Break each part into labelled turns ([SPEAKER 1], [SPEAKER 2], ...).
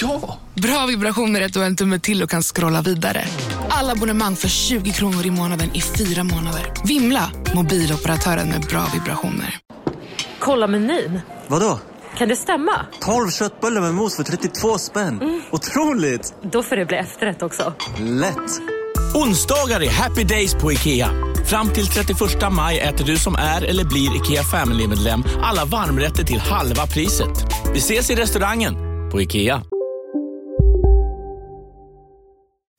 [SPEAKER 1] Ja!
[SPEAKER 2] Bra vibrationer är att du har en tumme till och kan scrolla vidare. Alla abonnemang för 20 kronor i månaden i fyra månader. Vimla! Mobiloperatören med bra vibrationer.
[SPEAKER 3] Kolla menyn.
[SPEAKER 4] Vadå?
[SPEAKER 3] Kan det stämma?
[SPEAKER 4] 12 köttbullar med mos för 32 spänn. Otroligt!
[SPEAKER 3] Då får det bli efterrätt också.
[SPEAKER 4] Lätt!
[SPEAKER 5] Onsdagar är happy days på IKEA. Fram till 31 maj äter du som är eller blir IKEA Family-medlem alla varmrätter till halva priset. Vi ses i restaurangen på IKEA.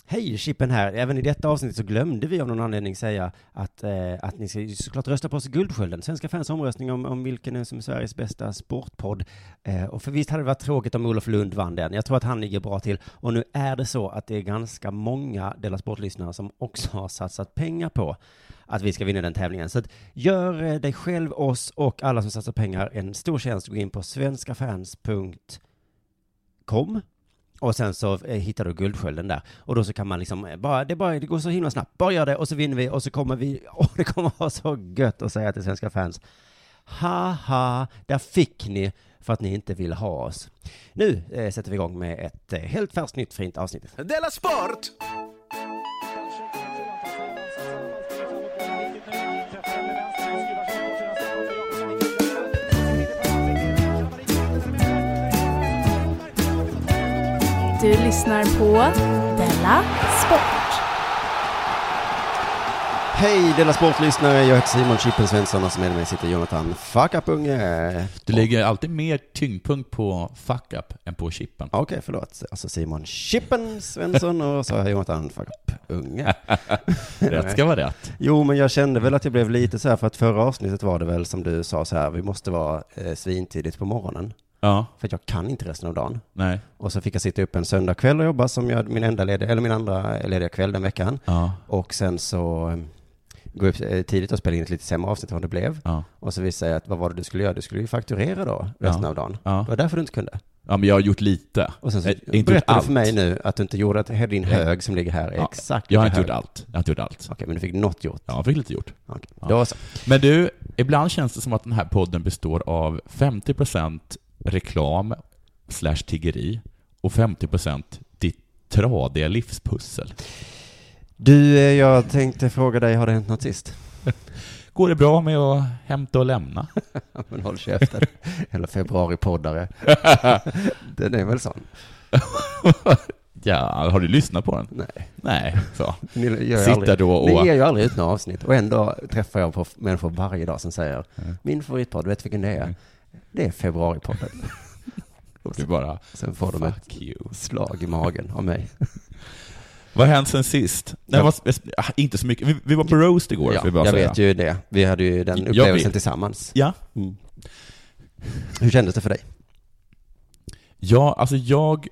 [SPEAKER 6] Hej, Chippen här. Även i detta avsnitt så glömde vi av någon anledning säga att, eh, att ni ska ju såklart rösta på oss i Guldskölden, Svenska fans omröstning om, om vilken som är Sveriges bästa sportpodd. Eh, och för visst hade det varit tråkigt om Olof Lund vann den. Jag tror att han ligger bra till. Och nu är det så att det är ganska många Della Sport-lyssnare som också har satsat pengar på att vi ska vinna den tävlingen. Så att gör eh, dig själv, oss och alla som satsar pengar en stor tjänst. Gå in på svenskafans.com och sen så eh, hittar du guldskölden där. Och då så kan man liksom, eh, bara, det, är bara, det går så himla snabbt. Bara gör det och så vinner vi och så kommer vi, och det kommer vara så gött att säga till svenska fans. Haha, där fick ni för att ni inte vill ha oss. Nu eh, sätter vi igång med ett eh, helt färskt nytt fint avsnitt.
[SPEAKER 1] Della Sport!
[SPEAKER 7] Du lyssnar på Della Sport.
[SPEAKER 6] Hej Della Sport-lyssnare, jag heter Simon Chippen Svensson och så med mig sitter Jonathan Fuckapunge.
[SPEAKER 8] Du lägger alltid mer tyngdpunkt på fuck up än på chippen.
[SPEAKER 6] Okej, förlåt. Alltså Simon Chippen Svensson och så har jag Jonathan Fuckapunge.
[SPEAKER 8] Rätt ska vara rätt.
[SPEAKER 6] Jo, men jag kände väl att jag blev lite så här, för att förra avsnittet var det väl som du sa så här, vi måste vara eh, svintidigt på morgonen,
[SPEAKER 8] Ja,
[SPEAKER 6] för att jag kan inte resten av dagen.
[SPEAKER 8] nej.
[SPEAKER 6] Och så fick jag sitta upp en söndag kväll och jobba som jag, min enda lediga, eller min andra lediga kväll den veckan.
[SPEAKER 8] Ja,
[SPEAKER 6] Och sen så eh, gå upp eh, tidigt och spela in ett lite sämre avsnitt än vad det blev.
[SPEAKER 8] ja.
[SPEAKER 6] Och så visade jag att vad var det du skulle göra? Du skulle ju fakturera då, resten
[SPEAKER 8] Ja.
[SPEAKER 6] av dagen.
[SPEAKER 8] Ja.
[SPEAKER 6] Det var därför du inte kunde.
[SPEAKER 8] ja, men jag har gjort lite.
[SPEAKER 6] Och sen så
[SPEAKER 8] Eh, inte gjort
[SPEAKER 6] berättade du
[SPEAKER 8] allt.
[SPEAKER 6] för mig nu att du inte gjorde att din hög som ligger här är
[SPEAKER 8] Ja,
[SPEAKER 6] exakt
[SPEAKER 8] Jag har
[SPEAKER 6] lika
[SPEAKER 8] inte gjort
[SPEAKER 6] hög.
[SPEAKER 8] allt. Jag har inte gjort allt.
[SPEAKER 6] Okej, men du fick något gjort.
[SPEAKER 8] Ja, jag fick lite gjort.
[SPEAKER 6] Okej.
[SPEAKER 8] Ja.
[SPEAKER 6] Då så.
[SPEAKER 8] Men du, ibland känns det som att den här podden består av 50% reklam slash tiggeri och 50% ditt tradiga livspussel.
[SPEAKER 6] Du, eh, jag tänkte fråga dig, har det hänt något sist?
[SPEAKER 8] Går det bra med att hämta och lämna?
[SPEAKER 6] Men håll käften. Eller februaripoddare. Den är väl sån.
[SPEAKER 8] Ja, har du lyssnat på den?
[SPEAKER 6] Nej.
[SPEAKER 8] Nej, så.
[SPEAKER 6] Ni gör ju
[SPEAKER 8] Sitter
[SPEAKER 6] aldrig,
[SPEAKER 8] då och-
[SPEAKER 6] Ni ger ju aldrig ut några avsnitt. Och ändå träffar jag på människor varje dag som säger, min favoritpodd, vet du vilken det
[SPEAKER 8] Mm.
[SPEAKER 6] är? Det är februaripodden.
[SPEAKER 8] Du bara,
[SPEAKER 6] Sen får de ett
[SPEAKER 8] fuck you.
[SPEAKER 6] slag i magen av mig.
[SPEAKER 8] Vad har hänt sen sist? Nej,
[SPEAKER 6] Ja.
[SPEAKER 8] vad, ah, inte så mycket. Vi, vi var på roast igår,
[SPEAKER 6] Ja,
[SPEAKER 8] får vi bara
[SPEAKER 6] jag
[SPEAKER 8] säga.
[SPEAKER 6] vet ju Mm. det. Vi hade ju den
[SPEAKER 8] Jag
[SPEAKER 6] upplevelsen
[SPEAKER 8] vet.
[SPEAKER 6] tillsammans.
[SPEAKER 8] Ja.
[SPEAKER 6] Hur kändes det för dig?
[SPEAKER 8] ja, alltså jag...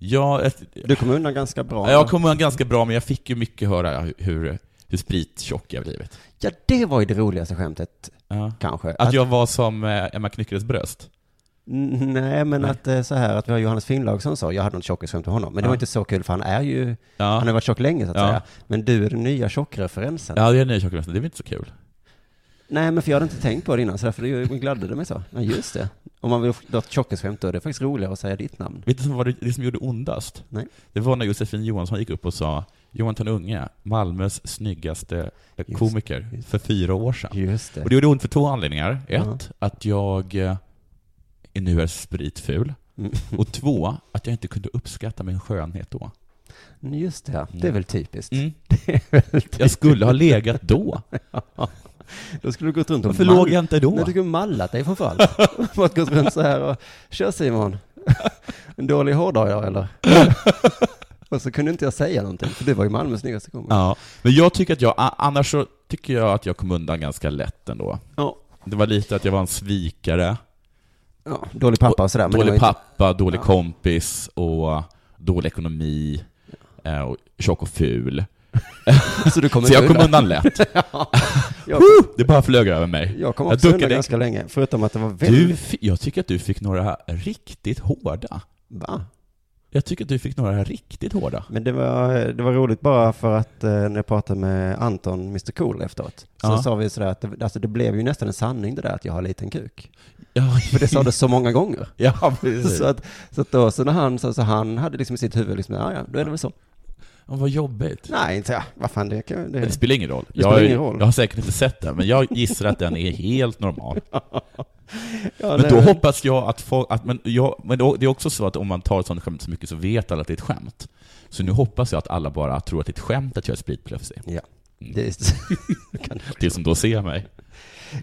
[SPEAKER 8] Jag, ett,
[SPEAKER 6] Du kom undan ganska bra.
[SPEAKER 8] jag kom undan ganska bra, men jag fick ju mycket höra hur, hur sprittjock jag blivit.
[SPEAKER 6] Ja, det var ju det roligaste skämtet,
[SPEAKER 8] Ja.
[SPEAKER 6] kanske.
[SPEAKER 8] Att jag var som eh, Emma Knyckares bröst.
[SPEAKER 6] N- Nej, men
[SPEAKER 8] Nej.
[SPEAKER 6] att det är så här att vi har Johannes Finnlaug som sa, jag hade något tjockisskämt med honom. Men det
[SPEAKER 8] Ja.
[SPEAKER 6] var inte så kul för han är ju, han har
[SPEAKER 8] Ja,
[SPEAKER 6] varit tjock länge så att
[SPEAKER 8] Ja.
[SPEAKER 6] säga. Men du är den nya tjockreferensen.
[SPEAKER 8] ja det är nya tjocka brösten. Det är väl inte så kul?
[SPEAKER 6] Nej, men för jag hade inte tänkt på det innan så därför det gladde det mig så. Ja, just det. Om man vill dra ett tjockisskämt då är det faktiskt roligare att säga ditt namn.
[SPEAKER 8] Vet du vad det, det som gjorde ondast?
[SPEAKER 6] Nej.
[SPEAKER 8] Det var när Josefin Johansson gick upp och sa Jonathan Unge, Malmös snyggaste
[SPEAKER 6] Just-
[SPEAKER 8] komiker,
[SPEAKER 6] just.
[SPEAKER 8] för fyra år sedan.
[SPEAKER 6] Just det.
[SPEAKER 8] Och det gjorde ont för två anledningar. Ett,
[SPEAKER 6] Ja.
[SPEAKER 8] att jag eh, nu är spritful.
[SPEAKER 6] Mm.
[SPEAKER 8] Och två, att jag inte kunde uppskatta min skönhet då.
[SPEAKER 6] Just det, ja. det är väl typiskt.
[SPEAKER 8] Mm. Jag skulle ha legat då.
[SPEAKER 6] Då skulle du gått runt och
[SPEAKER 8] Varför
[SPEAKER 6] mall-
[SPEAKER 8] låg jag inte
[SPEAKER 6] Nej,
[SPEAKER 8] då?
[SPEAKER 6] du skulle mallat dig framförallt. Fått gått runt så här och, kör Simon. En dålig hårdag idag eller? och så kunde inte jag säga någonting, för du var ju Malmös snyggaste komiker.
[SPEAKER 8] Ja, men jag tycker att jag, a- annars så tycker jag att jag kom undan ganska lätt ändå.
[SPEAKER 6] Ja.
[SPEAKER 8] Det var lite att jag var en svikare,
[SPEAKER 6] Ja, dålig pappa och sådär. men det var
[SPEAKER 8] dålig
[SPEAKER 6] inte-
[SPEAKER 8] pappa, dålig
[SPEAKER 6] Ja.
[SPEAKER 8] kompis och dålig ekonomi, eh, och tjock och ful.
[SPEAKER 6] Så du kommer
[SPEAKER 8] Så jag kom
[SPEAKER 6] undan.
[SPEAKER 8] undan lätt.
[SPEAKER 6] Jag,
[SPEAKER 8] Det bara flög över mig.
[SPEAKER 6] jag kom
[SPEAKER 8] Jag
[SPEAKER 6] också undan
[SPEAKER 8] duckade.
[SPEAKER 6] ganska länge, förutom att det var väldigt...
[SPEAKER 8] Du, fi- jag tycker att du fick några riktigt hårda.
[SPEAKER 6] Va?
[SPEAKER 8] Jag tycker att du fick några riktigt hårda.
[SPEAKER 6] Men det var, det var roligt bara för att eh, när jag pratade med Anton, Mr Cool, efteråt, så
[SPEAKER 8] Ja.
[SPEAKER 6] sa vi sådär att det, alltså det blev ju nästan en sanning det där att jag har liten kuk.
[SPEAKER 8] Ja,
[SPEAKER 6] För det sa du så många gånger.
[SPEAKER 8] ja precis.
[SPEAKER 6] Så att, så att då, så när han, så, så han hade liksom i sitt huvud liksom, ja ja, då är det väl så.
[SPEAKER 8] Ja, vad jobbigt.
[SPEAKER 6] Nej, inte ja, vad fan det kan
[SPEAKER 8] Men Det
[SPEAKER 6] det,
[SPEAKER 8] spelar ingen roll.
[SPEAKER 6] spelar
[SPEAKER 8] jag,
[SPEAKER 6] ingen roll.
[SPEAKER 8] jag har säkert inte sett den, men jag gissar att den är helt normal.
[SPEAKER 6] ja,
[SPEAKER 8] Men
[SPEAKER 6] det-
[SPEAKER 8] då hoppas jag att folk... Att, men jag, men då, det är också så att om man tar ett sånt skämt så mycket så vet alla att det är ett skämt. Så nu hoppas jag att alla bara tror att det är ett skämt att jag är spritplötsig.
[SPEAKER 6] Ja.
[SPEAKER 8] Mm.
[SPEAKER 6] Det,
[SPEAKER 8] Det som då ser mig.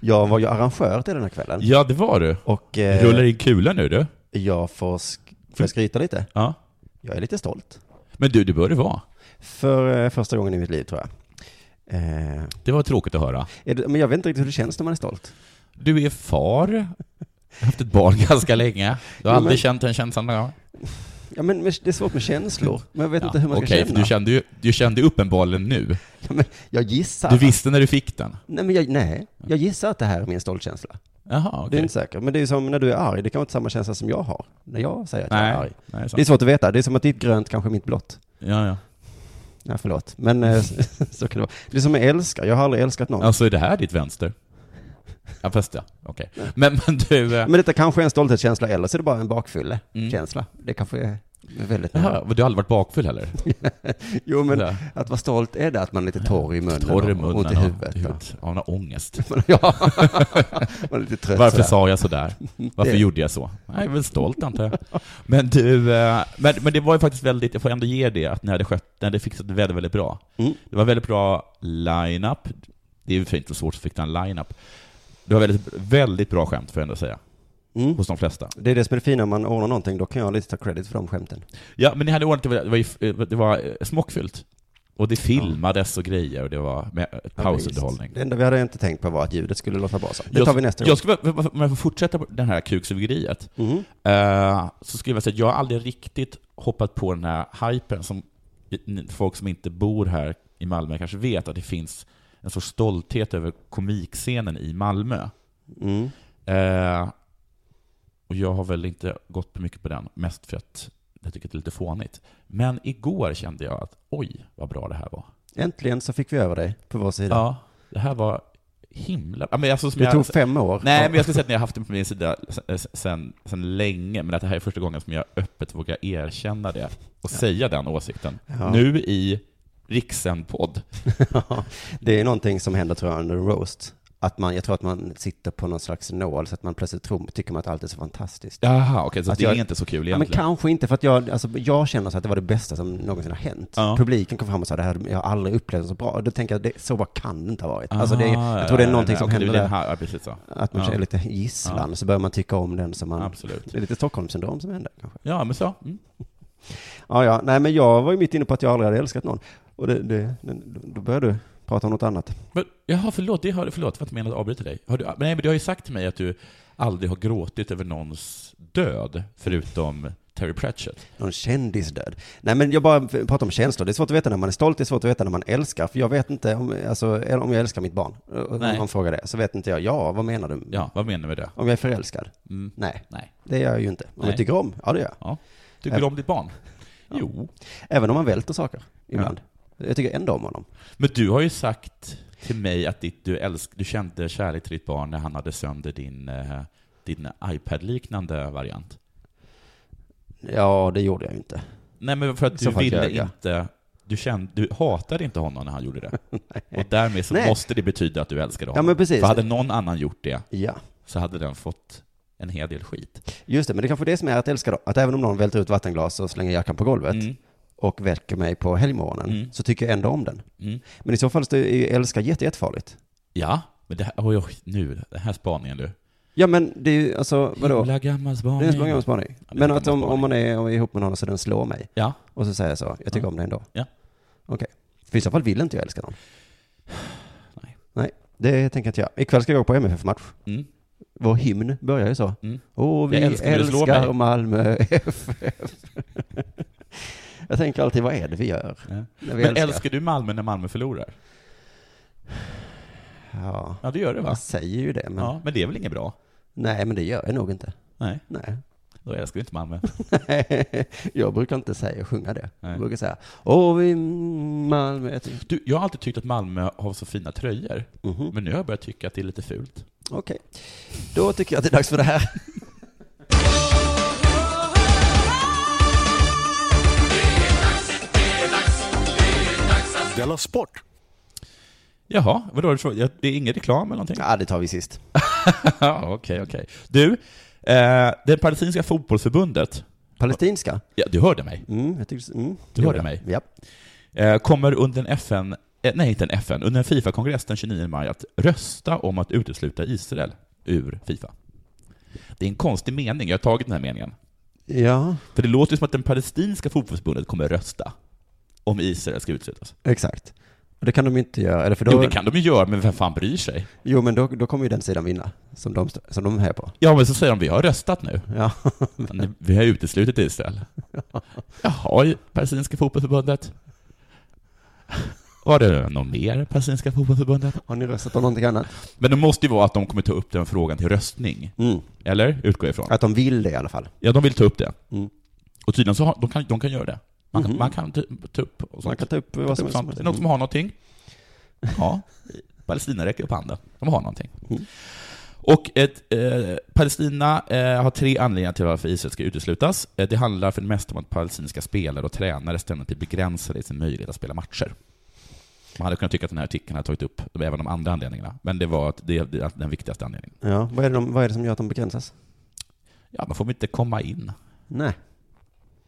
[SPEAKER 6] jag var ju arrangör till den här kvällen.
[SPEAKER 8] Ja, det var du.
[SPEAKER 6] Och eh,
[SPEAKER 8] Rullar in kula nu du.
[SPEAKER 6] jag får, sk- får jag skryta lite.
[SPEAKER 8] Ja.
[SPEAKER 6] Jag är lite stolt.
[SPEAKER 8] Men du, det bör det vara.
[SPEAKER 6] För eh, första gången i mitt liv tror jag. Eh,
[SPEAKER 8] Det var tråkigt att höra.
[SPEAKER 6] är det, men jag vet inte riktigt hur det känns när man är stolt.
[SPEAKER 8] Du är far. Jag har haft ett barn ganska länge. Du har
[SPEAKER 6] Jo,
[SPEAKER 8] aldrig
[SPEAKER 6] men-
[SPEAKER 8] känt den känslan. ja.
[SPEAKER 6] Ja, men men det är svårt med känslor. Men jag vet
[SPEAKER 8] Ja,
[SPEAKER 6] inte hur man ska
[SPEAKER 8] Okej, för
[SPEAKER 6] känna.
[SPEAKER 8] du kände ju du kände ju uppenbarligen nu.
[SPEAKER 6] Ja, men jag gissar.
[SPEAKER 8] Du visste när du fick den.
[SPEAKER 6] Nej, men jag, nej, jag gissar att det här är min stoltkänsla.
[SPEAKER 8] Jaha,
[SPEAKER 6] Det är
[SPEAKER 8] okej.
[SPEAKER 6] inte säkert. Men det är ju som när du är arg. Det kan vara inte samma känsla som jag har. När jag säger att jag är
[SPEAKER 8] Nej,
[SPEAKER 6] arg.
[SPEAKER 8] nej, sant.
[SPEAKER 6] Det är svårt att veta. Det är som att ditt grönt kanske är mitt blått.
[SPEAKER 8] Ja, ja.
[SPEAKER 6] Nej, förlåt. Men eh, så kan det vara. Det är som jag älskar. Jag har aldrig älskat någon.
[SPEAKER 8] Alltså är det här ditt vänster? Ja fast ja, okej. Men, men du, eh,
[SPEAKER 6] Men detta kanske är en stolthetskänsla eller så är det bara en bakfyllekänsla. Det kanske är väldigt nära.
[SPEAKER 8] Mm. jaha, men du har aldrig varit bakfull heller?
[SPEAKER 6] Jo, men
[SPEAKER 8] Ja.
[SPEAKER 6] att vara stolt är det att man är lite torr i munnen.
[SPEAKER 8] Torr i
[SPEAKER 6] och-
[SPEAKER 8] munnen
[SPEAKER 6] Och ont i
[SPEAKER 8] och-
[SPEAKER 6] huvudet. Ja.
[SPEAKER 8] Ja, man har ångest.
[SPEAKER 6] ja. man är lite trött
[SPEAKER 8] Varför
[SPEAKER 6] sådär.
[SPEAKER 8] sa jag sådär? Varför
[SPEAKER 6] Det-
[SPEAKER 8] gjorde jag så? Nej, jag är väl stolt antar jag. Men du, eh, men, men det var ju faktiskt väldigt, jag får ändå ge det, att ni hade skött, ni hade fixat det väldigt, väldigt bra.
[SPEAKER 6] Mm.
[SPEAKER 8] Det var väldigt bra line-up. Det är ju för inte så svårt att fixa en line-up. Det var väldigt, väldigt bra skämt får jag ändå säga,
[SPEAKER 6] Mm.
[SPEAKER 8] hos de flesta.
[SPEAKER 6] Det är det som är det fina om man ordnar någonting. Då kan jag lite ta credit för de skämten.
[SPEAKER 8] Ja, men ni hade ordnat det, det var, ju- det var eh, smockfyllt. Och det filmades och grejer och det var med eh, pausunderhållning.
[SPEAKER 6] Det enda vi hade inte tänkt på var att ljudet skulle låta bra så. Det tar vi nästa gång.
[SPEAKER 8] Jag skulle, om jag får fortsätta på den här kuksugeriet,
[SPEAKER 6] Mm.
[SPEAKER 8] eh, så skulle jag vilja säga att jag har aldrig riktigt hoppat på den här hypen som folk som inte bor här i Malmö kanske vet, att det finns en sorts stolthet över komikscenen i Malmö.
[SPEAKER 6] Mm.
[SPEAKER 8] Eh, och jag har väl inte gått på mycket på den, mest för att jag tycker att det är lite fånigt. Men igår kände jag att oj, vad bra det här var.
[SPEAKER 6] Äntligen så fick vi över dig på vår sida.
[SPEAKER 8] Ja, det här var himla... Ja, men alltså, som
[SPEAKER 6] Det
[SPEAKER 8] jag-
[SPEAKER 6] tog fem år.
[SPEAKER 8] Nej, men jag skulle säga att ni har haft den på min sida sen- sen, sen länge, men att det här är första gången som jag öppet vågar erkänna det och säga den åsikten.
[SPEAKER 6] Ja.
[SPEAKER 8] Nu i Riksen-podd.
[SPEAKER 6] Det är någonting som händer tror jag under en roast. Att man, jag tror att man sitter på någon slags nål så att man plötsligt tror, tycker man att allt är så fantastiskt.
[SPEAKER 8] Jaha, okej, så
[SPEAKER 6] Att
[SPEAKER 8] det
[SPEAKER 6] jag-
[SPEAKER 8] är inte så kul
[SPEAKER 6] Ja, men
[SPEAKER 8] egentligen.
[SPEAKER 6] kanske inte, för att jag, alltså, jag känner så att det var det bästa som någonsin har hänt.
[SPEAKER 8] Ja.
[SPEAKER 6] Publiken kom fram och sa det här, jag har aldrig upplevt det så bra. Då tänker jag, det, så bra kan det inte ha varit. alltså, det, är-
[SPEAKER 8] Ah,
[SPEAKER 6] jag tror det är
[SPEAKER 8] ja,
[SPEAKER 6] någonting
[SPEAKER 8] ja,
[SPEAKER 6] som
[SPEAKER 8] men du,
[SPEAKER 6] händer
[SPEAKER 8] det är
[SPEAKER 6] där,
[SPEAKER 8] en ha- Ja, precis så.
[SPEAKER 6] att man
[SPEAKER 8] Ja.
[SPEAKER 6] är lite gisslan, så börjar man tycka om den som man...
[SPEAKER 8] Absolut.
[SPEAKER 6] Det är lite Stockholmssyndrom som händer kanske.
[SPEAKER 8] Ja, men så. Mm.
[SPEAKER 6] Ja, ja, nej men jag var ju mitt inne på att jag aldrig hade älskat någon. Och det, det, det, då började du prata om något annat.
[SPEAKER 8] Men, jaha, förlåt, det har, förlåt, det var inte menat att avbryta dig. Har du, men nej, men du har ju sagt till mig att du aldrig har gråtit över någons död, förutom Terry Pratchett.
[SPEAKER 6] Någon kändisdöd. Nej men jag bara pratar om känslor. Det är svårt att veta när man är stolt, det är svårt att veta när man älskar. För jag vet inte om, alltså, eller om jag älskar mitt barn. eh, Om
[SPEAKER 8] Nej.
[SPEAKER 6] någon frågar det, så vet inte jag. Ja, vad menar du?
[SPEAKER 8] Ja, vad menar du med det?
[SPEAKER 6] Om jag är förälskad? Nej,
[SPEAKER 8] Nej.
[SPEAKER 6] det gör jag ju inte. Om
[SPEAKER 8] Nej.
[SPEAKER 6] jag tycker om? Ja, det gör jag.
[SPEAKER 8] Ja. Tycker du om ditt barn? Jo.
[SPEAKER 6] Även om man välter saker ibland. Jag tycker ändå om honom.
[SPEAKER 8] Men du har ju sagt till mig att ditt, du, älsk, du kände kärlek till ditt barn när han hade sönder din, eh, din iPad-liknande variant.
[SPEAKER 6] Ja, det gjorde jag ju inte.
[SPEAKER 8] Nej, men för att
[SPEAKER 6] så
[SPEAKER 8] du
[SPEAKER 6] fall
[SPEAKER 8] ville
[SPEAKER 6] ljög jag.
[SPEAKER 8] inte... Du, kände, du hatade inte honom när han gjorde det. Och därmed så
[SPEAKER 6] Nej.
[SPEAKER 8] måste det betyda att du älskade honom.
[SPEAKER 6] men precis.
[SPEAKER 8] För hade någon annan gjort det
[SPEAKER 6] Ja.
[SPEAKER 8] så hade den fått en hel del skit.
[SPEAKER 6] Just det, men det är kanske är det som är att älska då. Att även om någon välter ut vattenglas och slänger jackan på golvet
[SPEAKER 8] Mm.
[SPEAKER 6] och väcker mig på helgmorgonen
[SPEAKER 8] Mm.
[SPEAKER 6] så tycker jag ändå om den.
[SPEAKER 8] Mm.
[SPEAKER 6] Men i så fall så är ju älska jätte, jättefarligt.
[SPEAKER 8] Ja, men det här, oj, oj, nu, den här spaningen du.
[SPEAKER 6] Ja men det är ju, alltså vadå?
[SPEAKER 8] Himla gammal
[SPEAKER 6] Det är en
[SPEAKER 8] spaning.
[SPEAKER 6] sån gammal spaning.
[SPEAKER 8] Ja, det är
[SPEAKER 6] Men
[SPEAKER 8] en
[SPEAKER 6] att
[SPEAKER 8] gammal
[SPEAKER 6] om, om
[SPEAKER 8] spaning.
[SPEAKER 6] man är ihop med någon så den slår mig
[SPEAKER 8] Ja.
[SPEAKER 6] och så säger jag så, jag tycker
[SPEAKER 8] Ja.
[SPEAKER 6] om dig ändå.
[SPEAKER 8] Ja.
[SPEAKER 6] Okej. För i så fall vill inte jag älska någon.
[SPEAKER 8] Nej.
[SPEAKER 6] Nej, det tänker inte jag. Ikväll ska jag gå på MFF-match.
[SPEAKER 8] Mm.
[SPEAKER 6] Vår hymn börjar ju så.
[SPEAKER 8] Mm.
[SPEAKER 6] Åh, vi
[SPEAKER 8] Jag älskar när
[SPEAKER 6] älskar,
[SPEAKER 8] du slår mig.
[SPEAKER 6] Malmö FF. Jag tänker alltid, vad är det vi gör?
[SPEAKER 8] Ja.
[SPEAKER 6] När vi
[SPEAKER 8] Men älskar du Malmö när Malmö förlorar?
[SPEAKER 6] Ja,
[SPEAKER 8] Ja, det gör det va?
[SPEAKER 6] jag säger ju det, men
[SPEAKER 8] Ja, men det är väl inget bra?
[SPEAKER 6] nej, men det gör jag nog inte.
[SPEAKER 8] Nej,
[SPEAKER 6] Nej.
[SPEAKER 8] då älskar du inte Malmö.
[SPEAKER 6] jag brukar inte säga sjunga det.
[SPEAKER 8] Nej.
[SPEAKER 6] Jag brukar säga, åh, vi Malmö, jag tycker-
[SPEAKER 8] Du, jag har alltid tyckt att Malmö har så fina tröjor,
[SPEAKER 6] Mhm.
[SPEAKER 8] men nu har jag börjat tycka att det är lite fult.
[SPEAKER 6] Okej, då tycker jag att det är dags för det här.
[SPEAKER 4] Della Sport.
[SPEAKER 8] Jaha, vadå? du tror- jag- Det är ingen reklam eller någonting?
[SPEAKER 6] Ja, det tar vi sist.
[SPEAKER 8] Ja, okej, okej. Du, eh, det palestinska fotbollsförbundet,
[SPEAKER 6] Palestinska?
[SPEAKER 8] ja, du hörde mig,
[SPEAKER 6] Mm, jag tyckte, mm.
[SPEAKER 8] Du hörde
[SPEAKER 6] Gjorde
[SPEAKER 8] mig.
[SPEAKER 6] jag. Ja.
[SPEAKER 8] eh, kommer under en FN, eh, nej inte en FN, under en Fifa-kongress den 29 maj att rösta om att utesluta Israel ur Fifa. Det är en konstig mening, jag har tagit den här meningen.
[SPEAKER 6] ja,
[SPEAKER 8] För det låter ju som att den palestinska fotbollsförbundet kommer rösta om Israel ska uteslutas.
[SPEAKER 6] exakt. Och det kan de inte göra, eller för då,
[SPEAKER 8] Jo, det kan de ju göra, men vem fan bryr sig?
[SPEAKER 6] jo men då, då kommer ju den sidan vinna, som de, st- som de är på.
[SPEAKER 8] Ja, men så säger de vi har röstat nu.
[SPEAKER 6] Ja,
[SPEAKER 8] Nej, Vi har uteslutit Israel. Jaha, i Palestinska fotbollsförbundet. Var det något mer, Palestinska fotbollsförbundet?
[SPEAKER 6] har ni röstat om någonting annat?
[SPEAKER 8] Men det måste ju vara att de kommer ta upp den frågan till röstning.
[SPEAKER 6] Mm.
[SPEAKER 8] Eller? Utgår jag ifrån.
[SPEAKER 6] Att de vill det i alla fall.
[SPEAKER 8] Ja, de vill ta upp det.
[SPEAKER 6] Mm.
[SPEAKER 8] Och tydligen så har, de kan de kan göra det. Man kan,
[SPEAKER 6] Mhm.
[SPEAKER 8] man kan ta, ta upp och sånt.
[SPEAKER 6] Man kan ta upp vad som
[SPEAKER 8] Typ sånt.
[SPEAKER 6] helst.
[SPEAKER 8] Är det någon som har någonting? Ja, Palestina räcker upp handen. De har någonting.
[SPEAKER 6] Mm.
[SPEAKER 8] Och ett, eh, Palestina eh, har tre anledningar till varför Israel ska uteslutas. Eh, det handlar för det mesta om att palestinska spelare och tränare ständigt blir begränsade i sin möjlighet att spela matcher. Man hade kunnat tycka att den här artikeln hade tagit upp även de andra anledningarna, men det var att det, det är den viktigaste anledningen.
[SPEAKER 6] Ja, vad är, det de, vad är det som gör att de begränsas?
[SPEAKER 8] Ja, de får väl inte komma in,
[SPEAKER 6] Nej,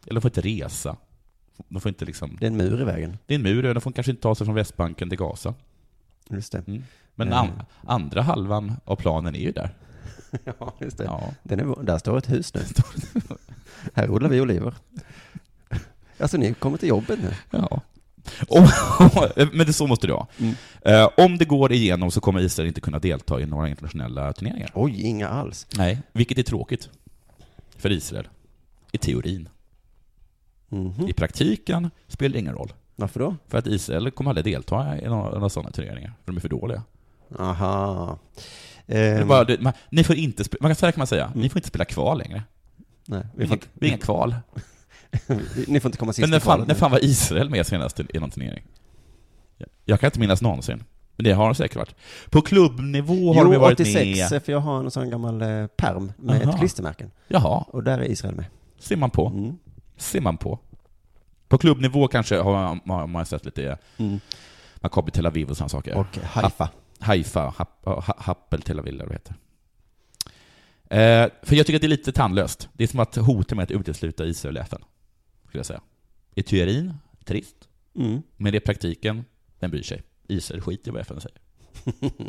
[SPEAKER 8] eller de får inte resa. De får inte liksom,
[SPEAKER 6] det är en mur i vägen.
[SPEAKER 8] det är en mur, de får kanske inte ta sig från Västbanken till Gaza.
[SPEAKER 6] Just det.
[SPEAKER 8] Mm. Men
[SPEAKER 6] Eh.
[SPEAKER 8] an, andra halvan av planen är ju där.
[SPEAKER 6] Ja, just det.
[SPEAKER 8] Ja.
[SPEAKER 6] Den är, vår- där står ett hus nu. Här odlar vi oliver. Alltså ni kommer till jobbet nu.
[SPEAKER 8] Ja. Om, men det, så måste det vara. Eh, om det går igenom så kommer Israel inte kunna delta i några internationella turneringar.
[SPEAKER 6] Oj, inga alls.
[SPEAKER 8] Nej. Vilket är tråkigt. För Israel. I teorin.
[SPEAKER 6] Mhm.
[SPEAKER 8] I praktiken spelar det ingen roll.
[SPEAKER 6] Varför då?
[SPEAKER 8] För att Israel kommer aldrig delta i några, några sådana turneringar. För de är för dåliga.
[SPEAKER 6] Aha.
[SPEAKER 8] Det är
[SPEAKER 6] Ehm,
[SPEAKER 8] bara, det, man, ni får inte spe, man kan, så här kan man säga. Ni får inte spela kval längre.
[SPEAKER 6] nej,
[SPEAKER 8] Vi
[SPEAKER 6] vi
[SPEAKER 8] är
[SPEAKER 6] får
[SPEAKER 8] inga, vi är inga kval.
[SPEAKER 6] inte, ni får inte komma sist
[SPEAKER 8] Men när
[SPEAKER 6] i
[SPEAKER 8] fan,
[SPEAKER 6] kvalen
[SPEAKER 8] när
[SPEAKER 6] nu.
[SPEAKER 8] fan var Israel med senast i i någon turnering? Jag- Jag kan inte minnas någonsin. Men det har de säkert varit. På klubbnivå har
[SPEAKER 6] Jo,
[SPEAKER 8] de ju varit
[SPEAKER 6] 86,
[SPEAKER 8] med.
[SPEAKER 6] för jag har en sån gammal eh, perm med
[SPEAKER 8] Aha.
[SPEAKER 6] ett klistermärken.
[SPEAKER 8] Jaha,
[SPEAKER 6] Och där är Israel med.
[SPEAKER 8] ser man på.
[SPEAKER 6] Mm.
[SPEAKER 8] Ser man på. På klubbnivå kanske har man, man har sett lite
[SPEAKER 6] Mm.
[SPEAKER 8] Maccabi Tel Aviv och sådana saker.
[SPEAKER 6] Och Haifa.
[SPEAKER 8] Haifa, Hap- Ha- Happel Tel Aviv eller vad det heter. Eh, för jag tycker att det är lite tandlöst. Det är som att hota med att utesluta Israel i FN. Skulle jag säga. I teorin, trist.
[SPEAKER 6] Mm.
[SPEAKER 8] Men det är praktiken, den bryr sig. Israel skiter i vad FN säger.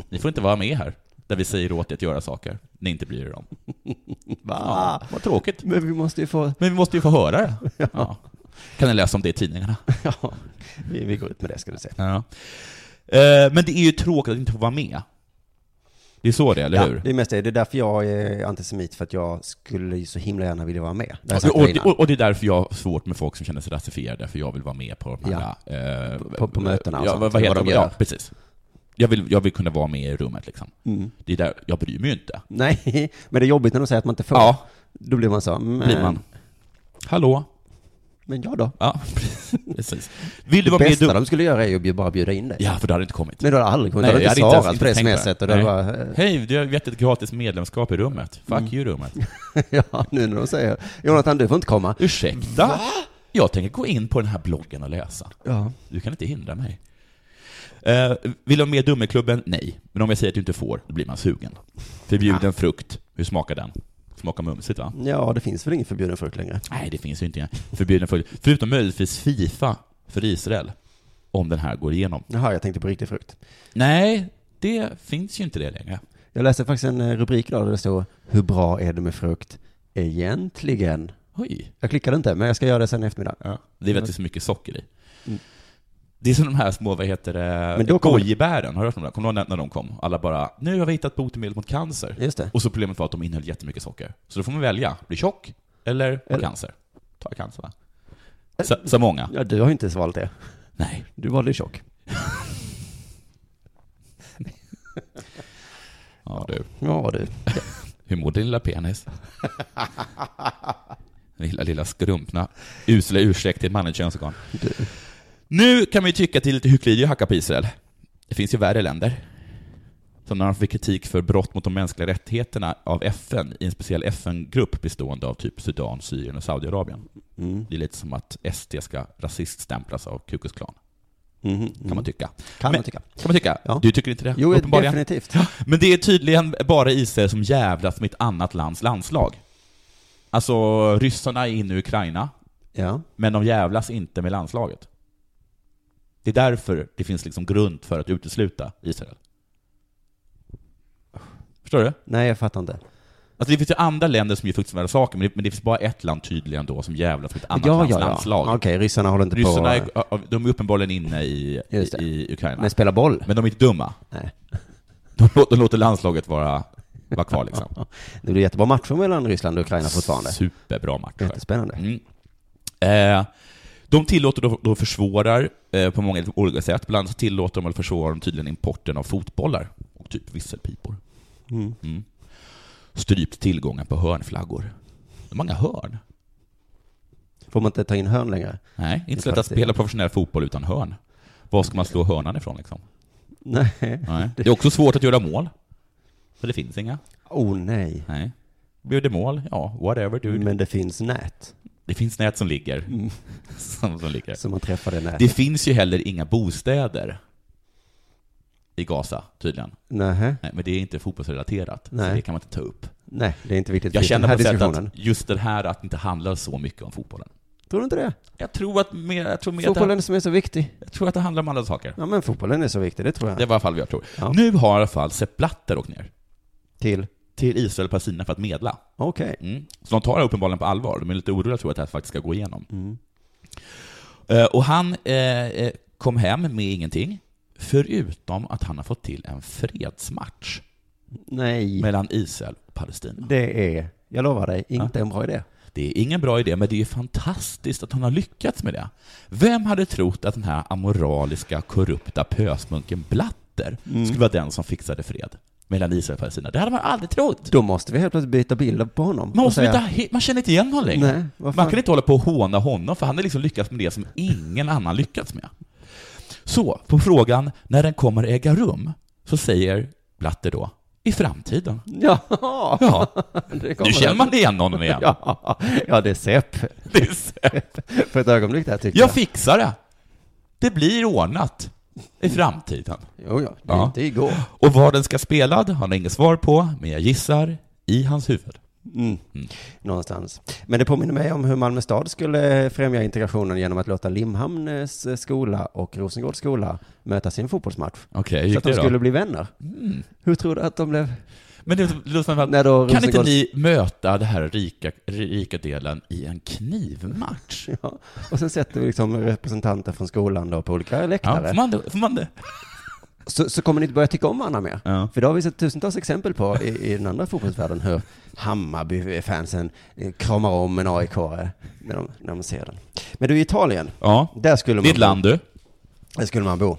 [SPEAKER 8] Ni får inte vara med här, där vi säger åt er att göra saker ni inte bryr er om. Ja, vad tråkigt.
[SPEAKER 6] Men vi måste ju få...
[SPEAKER 8] Men vi måste ju få höra det. Ja. Kan ni läsa om det i tidningarna?
[SPEAKER 6] Ja, vi, vi går ut med det ska du se.
[SPEAKER 8] Ja. Eh, Men det är ju tråkigt att inte få vara med. Det är så det är, eller hur?
[SPEAKER 6] Ja, det är mest det. Det är därför jag är antisemit, för att jag skulle ju så himla gärna vilja vara med. Det har jag sagt
[SPEAKER 8] och,
[SPEAKER 6] innan.
[SPEAKER 8] och, och det är därför jag har svårt med folk som känner sig rasifierade, för jag vill vara med på de här... eh,
[SPEAKER 6] På- på mötena och
[SPEAKER 8] ja,
[SPEAKER 6] sånt,
[SPEAKER 8] vad, vad heter
[SPEAKER 6] vad
[SPEAKER 8] de?
[SPEAKER 6] de
[SPEAKER 8] Ja,
[SPEAKER 6] gör.
[SPEAKER 8] precis. Jag vill, jag vill kunna vara med i rummet liksom.
[SPEAKER 6] Mm.
[SPEAKER 8] Det är där, jag bryr mig ju inte.
[SPEAKER 6] Nej, men det är jobbigt när de säger att man inte får.
[SPEAKER 8] Ja.
[SPEAKER 6] Då blir man så. mm,
[SPEAKER 8] Blir man. Hallå?
[SPEAKER 6] Men jag då?
[SPEAKER 8] Ja, precis. Vill
[SPEAKER 6] Det
[SPEAKER 8] du vara med i
[SPEAKER 6] bästa
[SPEAKER 8] dum...
[SPEAKER 6] de skulle göra är ju att bjud- bara bjuda in dig.
[SPEAKER 8] Ja, för du hade inte kommit.
[SPEAKER 6] Men du hade aldrig kommit,
[SPEAKER 8] Nej,
[SPEAKER 6] du hade
[SPEAKER 8] jag
[SPEAKER 6] inte
[SPEAKER 8] hade inte
[SPEAKER 6] svarat på det
[SPEAKER 8] ens tänkt på det.
[SPEAKER 6] smset och du hade
[SPEAKER 8] Nej.
[SPEAKER 6] bara, Mm. eh,
[SPEAKER 8] Hej, du har gett ett gratis medlemskap i rummet. Fuck you rummet.
[SPEAKER 6] ja nu när de säger Jonathan du får inte komma.
[SPEAKER 8] Ursäkta? Jag tänker gå in på den här bloggen och läsa.
[SPEAKER 6] Ja.
[SPEAKER 8] Du kan inte hindra mig. Eh, vill du ha med Dummeklubben? Nej. Men om jag säger att du inte får, då blir man sugen. Förbjuden frukt. Hur smakar den? Smakar mumsigt va?
[SPEAKER 6] ja, det finns väl ingen förbjuden frukt längre.
[SPEAKER 8] Nej, det finns ju inte. Förbjuden frukt. Förutom möjligtvis Fifa för Israel. Om den här går igenom.
[SPEAKER 6] Jaha, jag tänkte på riktig frukt.
[SPEAKER 8] Nej, det finns ju inte det längre.
[SPEAKER 6] Jag läste faktiskt en eh, rubrik idag där det stod Hur bra är det med frukt egentligen?
[SPEAKER 8] Oj.
[SPEAKER 6] Jag klickade inte, men jag ska göra det sen i eftermiddag.
[SPEAKER 8] Det är väl att det är så mycket socker i. Det är som de här små, vad heter det,
[SPEAKER 6] Mm. Men då kommer-
[SPEAKER 8] gojibären. Har du hört om det? Kommer du ihåg när de kom? Alla bara, nu har vi hittat botemedel mot cancer.
[SPEAKER 6] Just det.
[SPEAKER 8] Och så problemet var att de innehöll jättemycket socker. Så då får man välja, bli tjock eller ha cancer. Ta cancer va? Så, så många.
[SPEAKER 6] Ja, du har ju inte valt det.
[SPEAKER 8] Nej.
[SPEAKER 6] Du valde ju tjock.
[SPEAKER 8] Ja, du.
[SPEAKER 6] Ja, du.
[SPEAKER 8] Hur mår din lilla penis? Den lilla, lilla skrumpna, usla ursäkt till ett manligt könsorgan. Nu kan vi tycka till lite hyckleri att hacka på Israel. Det finns ju värre länder. Som när de fick kritik för brott mot de mänskliga rättigheterna av FN i en speciell FN-grupp bestående av typ Sudan, Syrien och Saudiarabien.
[SPEAKER 6] Mm.
[SPEAKER 8] Det är lite som att SD ska rasiststämplas av Ku Klux Klan,
[SPEAKER 6] Mhm.
[SPEAKER 8] kan man tycka.
[SPEAKER 6] Kan
[SPEAKER 8] Men-
[SPEAKER 6] man tycka.
[SPEAKER 8] Kan man tycka?
[SPEAKER 6] Ja.
[SPEAKER 8] Du tycker inte det?
[SPEAKER 6] Jo,
[SPEAKER 8] uppenbarligen.
[SPEAKER 6] definitivt.
[SPEAKER 8] Men det är tydligen bara Israel som jävlas med ett annat lands landslag. Alltså, ryssarna är inne i Ukraina,
[SPEAKER 6] Ja.
[SPEAKER 8] men de jävlas inte med landslaget. Det är därför det finns liksom grund för att utesluta Israel. Förstår du?
[SPEAKER 6] Nej, jag fattar inte.
[SPEAKER 8] Alltså det finns ju andra länder som gör fruktansvärda saker, men det, men det finns bara ett land tydligen då som jävlas med ett annat
[SPEAKER 6] ja,
[SPEAKER 8] lands
[SPEAKER 6] ja,
[SPEAKER 8] landslag.
[SPEAKER 6] ja. Okej, ryssarna håller inte
[SPEAKER 8] Ryssarna
[SPEAKER 6] på...
[SPEAKER 8] är, de är uppenbarligen inne i,
[SPEAKER 6] Just det.
[SPEAKER 8] i Ukraina.
[SPEAKER 6] Men spelar boll?
[SPEAKER 8] Men de är inte dumma.
[SPEAKER 6] Nej.
[SPEAKER 8] De, lå- de låter landslaget vara, vara kvar liksom.
[SPEAKER 6] Det blir jättebra matcher mellan Ryssland och Ukraina fortfarande.
[SPEAKER 8] Superbra matcher.
[SPEAKER 6] Jättespännande.
[SPEAKER 8] Mm. Eh, de tillåter då, då försvårar eh, på många olika sätt. Bland annat tillåter de eller försvårar de tydligen importen av fotbollar och typ visselpipor.
[SPEAKER 6] Mm.
[SPEAKER 8] Mm. Strypt tillgången på hörnflaggor. Hur många hörn?
[SPEAKER 6] Får man inte ta in hörn längre?
[SPEAKER 8] Nej, inte så lätt att
[SPEAKER 6] faktiskt-
[SPEAKER 8] spela professionell fotboll utan hörn. Var ska man slå hörnan ifrån liksom?
[SPEAKER 6] Nej.
[SPEAKER 8] Nej. Det är också svårt att göra mål. För det finns inga.
[SPEAKER 6] Oh nej.
[SPEAKER 8] Nej. Blir det mål? Ja, whatever dude.
[SPEAKER 6] Men det finns nät.
[SPEAKER 8] Det finns nät som ligger.
[SPEAKER 6] Mm.
[SPEAKER 8] som, som ligger.
[SPEAKER 6] Så man träffar det nätet.
[SPEAKER 8] Det finns ju heller inga bostäder i Gaza, tydligen.
[SPEAKER 6] Nej.
[SPEAKER 8] Nej, men det är inte fotbollsrelaterat, så
[SPEAKER 6] Nej.
[SPEAKER 8] det kan man inte ta upp.
[SPEAKER 6] Nej, det är inte viktigt för
[SPEAKER 8] Jag
[SPEAKER 6] den
[SPEAKER 8] känner
[SPEAKER 6] här
[SPEAKER 8] på sätt
[SPEAKER 6] diskussionen.
[SPEAKER 8] att just det här att det inte handlar så mycket om fotbollen.
[SPEAKER 6] Tror du inte det?
[SPEAKER 8] Jag tror att, mer, jag tror mer att, det,
[SPEAKER 6] Fotbollen som är så viktig.
[SPEAKER 8] jag tror att det handlar om andra saker.
[SPEAKER 6] Ja, men fotbollen är så viktig, det tror jag.
[SPEAKER 8] Det var i alla fall vad jag tror.
[SPEAKER 6] Ja.
[SPEAKER 8] Nu har i alla fall Sepp Blatter åkt ner
[SPEAKER 6] Till?
[SPEAKER 8] till Israel och Palestina för att medla.
[SPEAKER 6] Okej.
[SPEAKER 8] Mm. Så de tar det uppenbarligen på allvar. De är lite oroliga tror jag att det här faktiskt ska gå igenom.
[SPEAKER 6] Mm.
[SPEAKER 8] Eh, Och han eh, eh, kom hem med ingenting, förutom att han har fått till en fredsmatch
[SPEAKER 6] Nej.
[SPEAKER 8] mellan Israel och Palestina. Det,
[SPEAKER 6] Det är, jag lovar dig, inte en bra idé.
[SPEAKER 8] är ingen bra idé, men det är fantastiskt att han har lyckats med det. Vem hade trott att den här amoraliska, korrupta pösmunken Blatter skulle vara den som fixade fred mellan Israel och Palestina? Det hade man aldrig trott!
[SPEAKER 6] Då måste vi helt plötsligt byta bilder på honom.
[SPEAKER 8] Man,
[SPEAKER 6] och
[SPEAKER 8] måste
[SPEAKER 6] säga,
[SPEAKER 8] inte, he- man känner inte igen honom längre.
[SPEAKER 6] Nej, vad fan?
[SPEAKER 8] Man kan inte hålla på och håna honom, för han har liksom lyckats med det som ingen annan lyckats med. Så, på frågan när den kommer äga rum, så säger Blatter då, i framtiden.
[SPEAKER 6] Ja,
[SPEAKER 8] Ja,
[SPEAKER 6] det kommer
[SPEAKER 8] nu känner
[SPEAKER 6] det.
[SPEAKER 8] man igen honom igen.
[SPEAKER 6] Ja, ja, det är Sepp.
[SPEAKER 8] Det är så-
[SPEAKER 6] För ett ögonblick där tyckte
[SPEAKER 8] Jag fixar det. Det blir ordnat i framtiden.
[SPEAKER 6] Jo, ja, det är
[SPEAKER 8] Ja.
[SPEAKER 6] inte igår.
[SPEAKER 8] Och var den ska spela, det har han inget svar på, men jag gissar i hans huvud.
[SPEAKER 6] Mm. Någonstans. Men det påminner mig om hur Malmö stad skulle främja integrationen genom att låta Limhamns skola och Rosengårds skola mötas i en fotbollsmatch.
[SPEAKER 8] Okej, hur
[SPEAKER 6] Så
[SPEAKER 8] gick
[SPEAKER 6] att de
[SPEAKER 8] det då? Mm.
[SPEAKER 6] skulle bli vänner. Hur tror du att de blev?
[SPEAKER 8] Men det låter som att,
[SPEAKER 6] När då
[SPEAKER 8] kan inte
[SPEAKER 6] Rosengård-
[SPEAKER 8] ni möta den här rika, rika delen i en knivmatch?
[SPEAKER 6] Ja. Och sen sätter vi liksom representanter från skolan då på olika
[SPEAKER 8] Ja,
[SPEAKER 6] läktare.
[SPEAKER 8] får man det? Får man det?
[SPEAKER 6] så, så kommer ni inte börja tycka om varandra mer.
[SPEAKER 8] Ja.
[SPEAKER 6] För det har vi sett tusentals exempel på i, i den andra fotbollsvärlden hur Hammarby-fansen eh, kramar om en aik när de, när de ser den. Men du, i Italien,
[SPEAKER 8] Ja,
[SPEAKER 6] där skulle
[SPEAKER 8] det är ett
[SPEAKER 6] man,
[SPEAKER 8] land du.
[SPEAKER 6] där skulle man bo.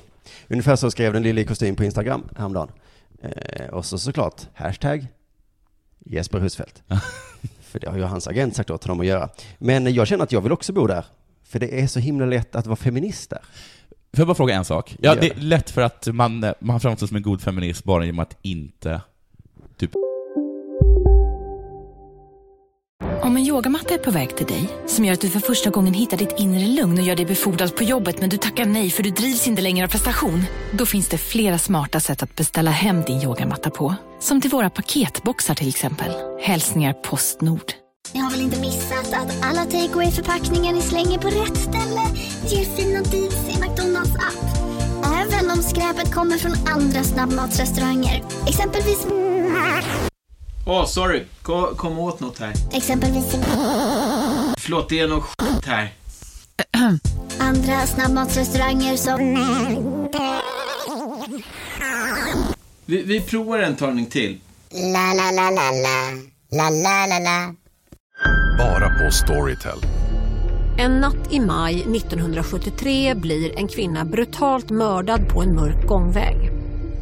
[SPEAKER 6] Ungefär så skrev den lille i kostym på Instagram häromdagen. Eh, och så såklart, hashtag Jesper Husfeldt. för det har ju hans agent sagt åt honom att göra. Men jag känner att jag vill också bo där. För det är så himla lätt att vara feminist där.
[SPEAKER 8] Får jag bara fråga en sak? Ja,
[SPEAKER 6] Gör
[SPEAKER 8] det är
[SPEAKER 6] det.
[SPEAKER 8] lätt för att man, man framstår som en god feminist bara genom att inte...
[SPEAKER 2] Om en yogamatta är på väg till dig, som gör att du för första gången hittar ditt inre lugn och gör dig befordrad på jobbet men du tackar nej för du drivs inte längre av prestation. Då finns det flera smarta sätt att beställa hem din yogamatta på. Som till våra paketboxar till exempel. Hälsningar Postnord.
[SPEAKER 9] Ni har väl inte missat att alla takeaway förpackningar ni slänger på rätt ställe ger fina deals i McDonalds app. Även om skräpet kommer från andra snabbmatsrestauranger. Exempelvis...
[SPEAKER 4] Åh, sorry. Kom, kom åt något här.
[SPEAKER 9] Exempelvis...
[SPEAKER 4] Förlåt, det är något skit här.
[SPEAKER 9] Andra snabbmatsrestauranger som...
[SPEAKER 4] Vi, vi provar en talning till.
[SPEAKER 9] La, la, la, la, la. La, la, la, la.
[SPEAKER 5] Bara på Storytel.
[SPEAKER 10] En natt i maj 1973 blir en kvinna brutalt mördad på en mörk gångväg.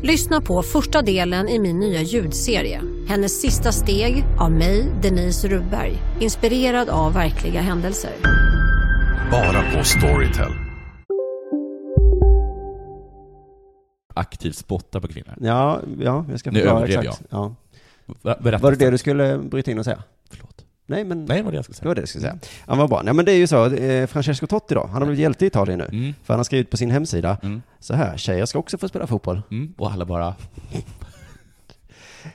[SPEAKER 10] Lyssna på första delen i min nya ljudserie. Hennes sista steg av mig, Denise Rubberg. Inspirerad av verkliga händelser.
[SPEAKER 11] Bara på Storytel.
[SPEAKER 8] Aktivt spotta på kvinnor.
[SPEAKER 6] Ja, ja jag ska
[SPEAKER 8] Nu
[SPEAKER 6] förklara
[SPEAKER 8] överdrev
[SPEAKER 6] exakt.
[SPEAKER 8] jag.
[SPEAKER 6] Ja.
[SPEAKER 8] Va- Berätta.
[SPEAKER 6] Var det det du skulle bryta in och säga?
[SPEAKER 8] Förlåt.
[SPEAKER 6] Nej, men...
[SPEAKER 8] Nej, det var det jag skulle
[SPEAKER 6] Det
[SPEAKER 8] säga.
[SPEAKER 6] var det du skulle säga. Ja, vad bra. Nej, men det är ju så, eh, Francesco Totti då, han har blivit hjälte i Italien nu.
[SPEAKER 8] Mm.
[SPEAKER 6] För han har skrivit på sin hemsida,
[SPEAKER 8] Mm.
[SPEAKER 6] så här, tjejer ska också få spela fotboll.
[SPEAKER 8] Mm. Och alla bara...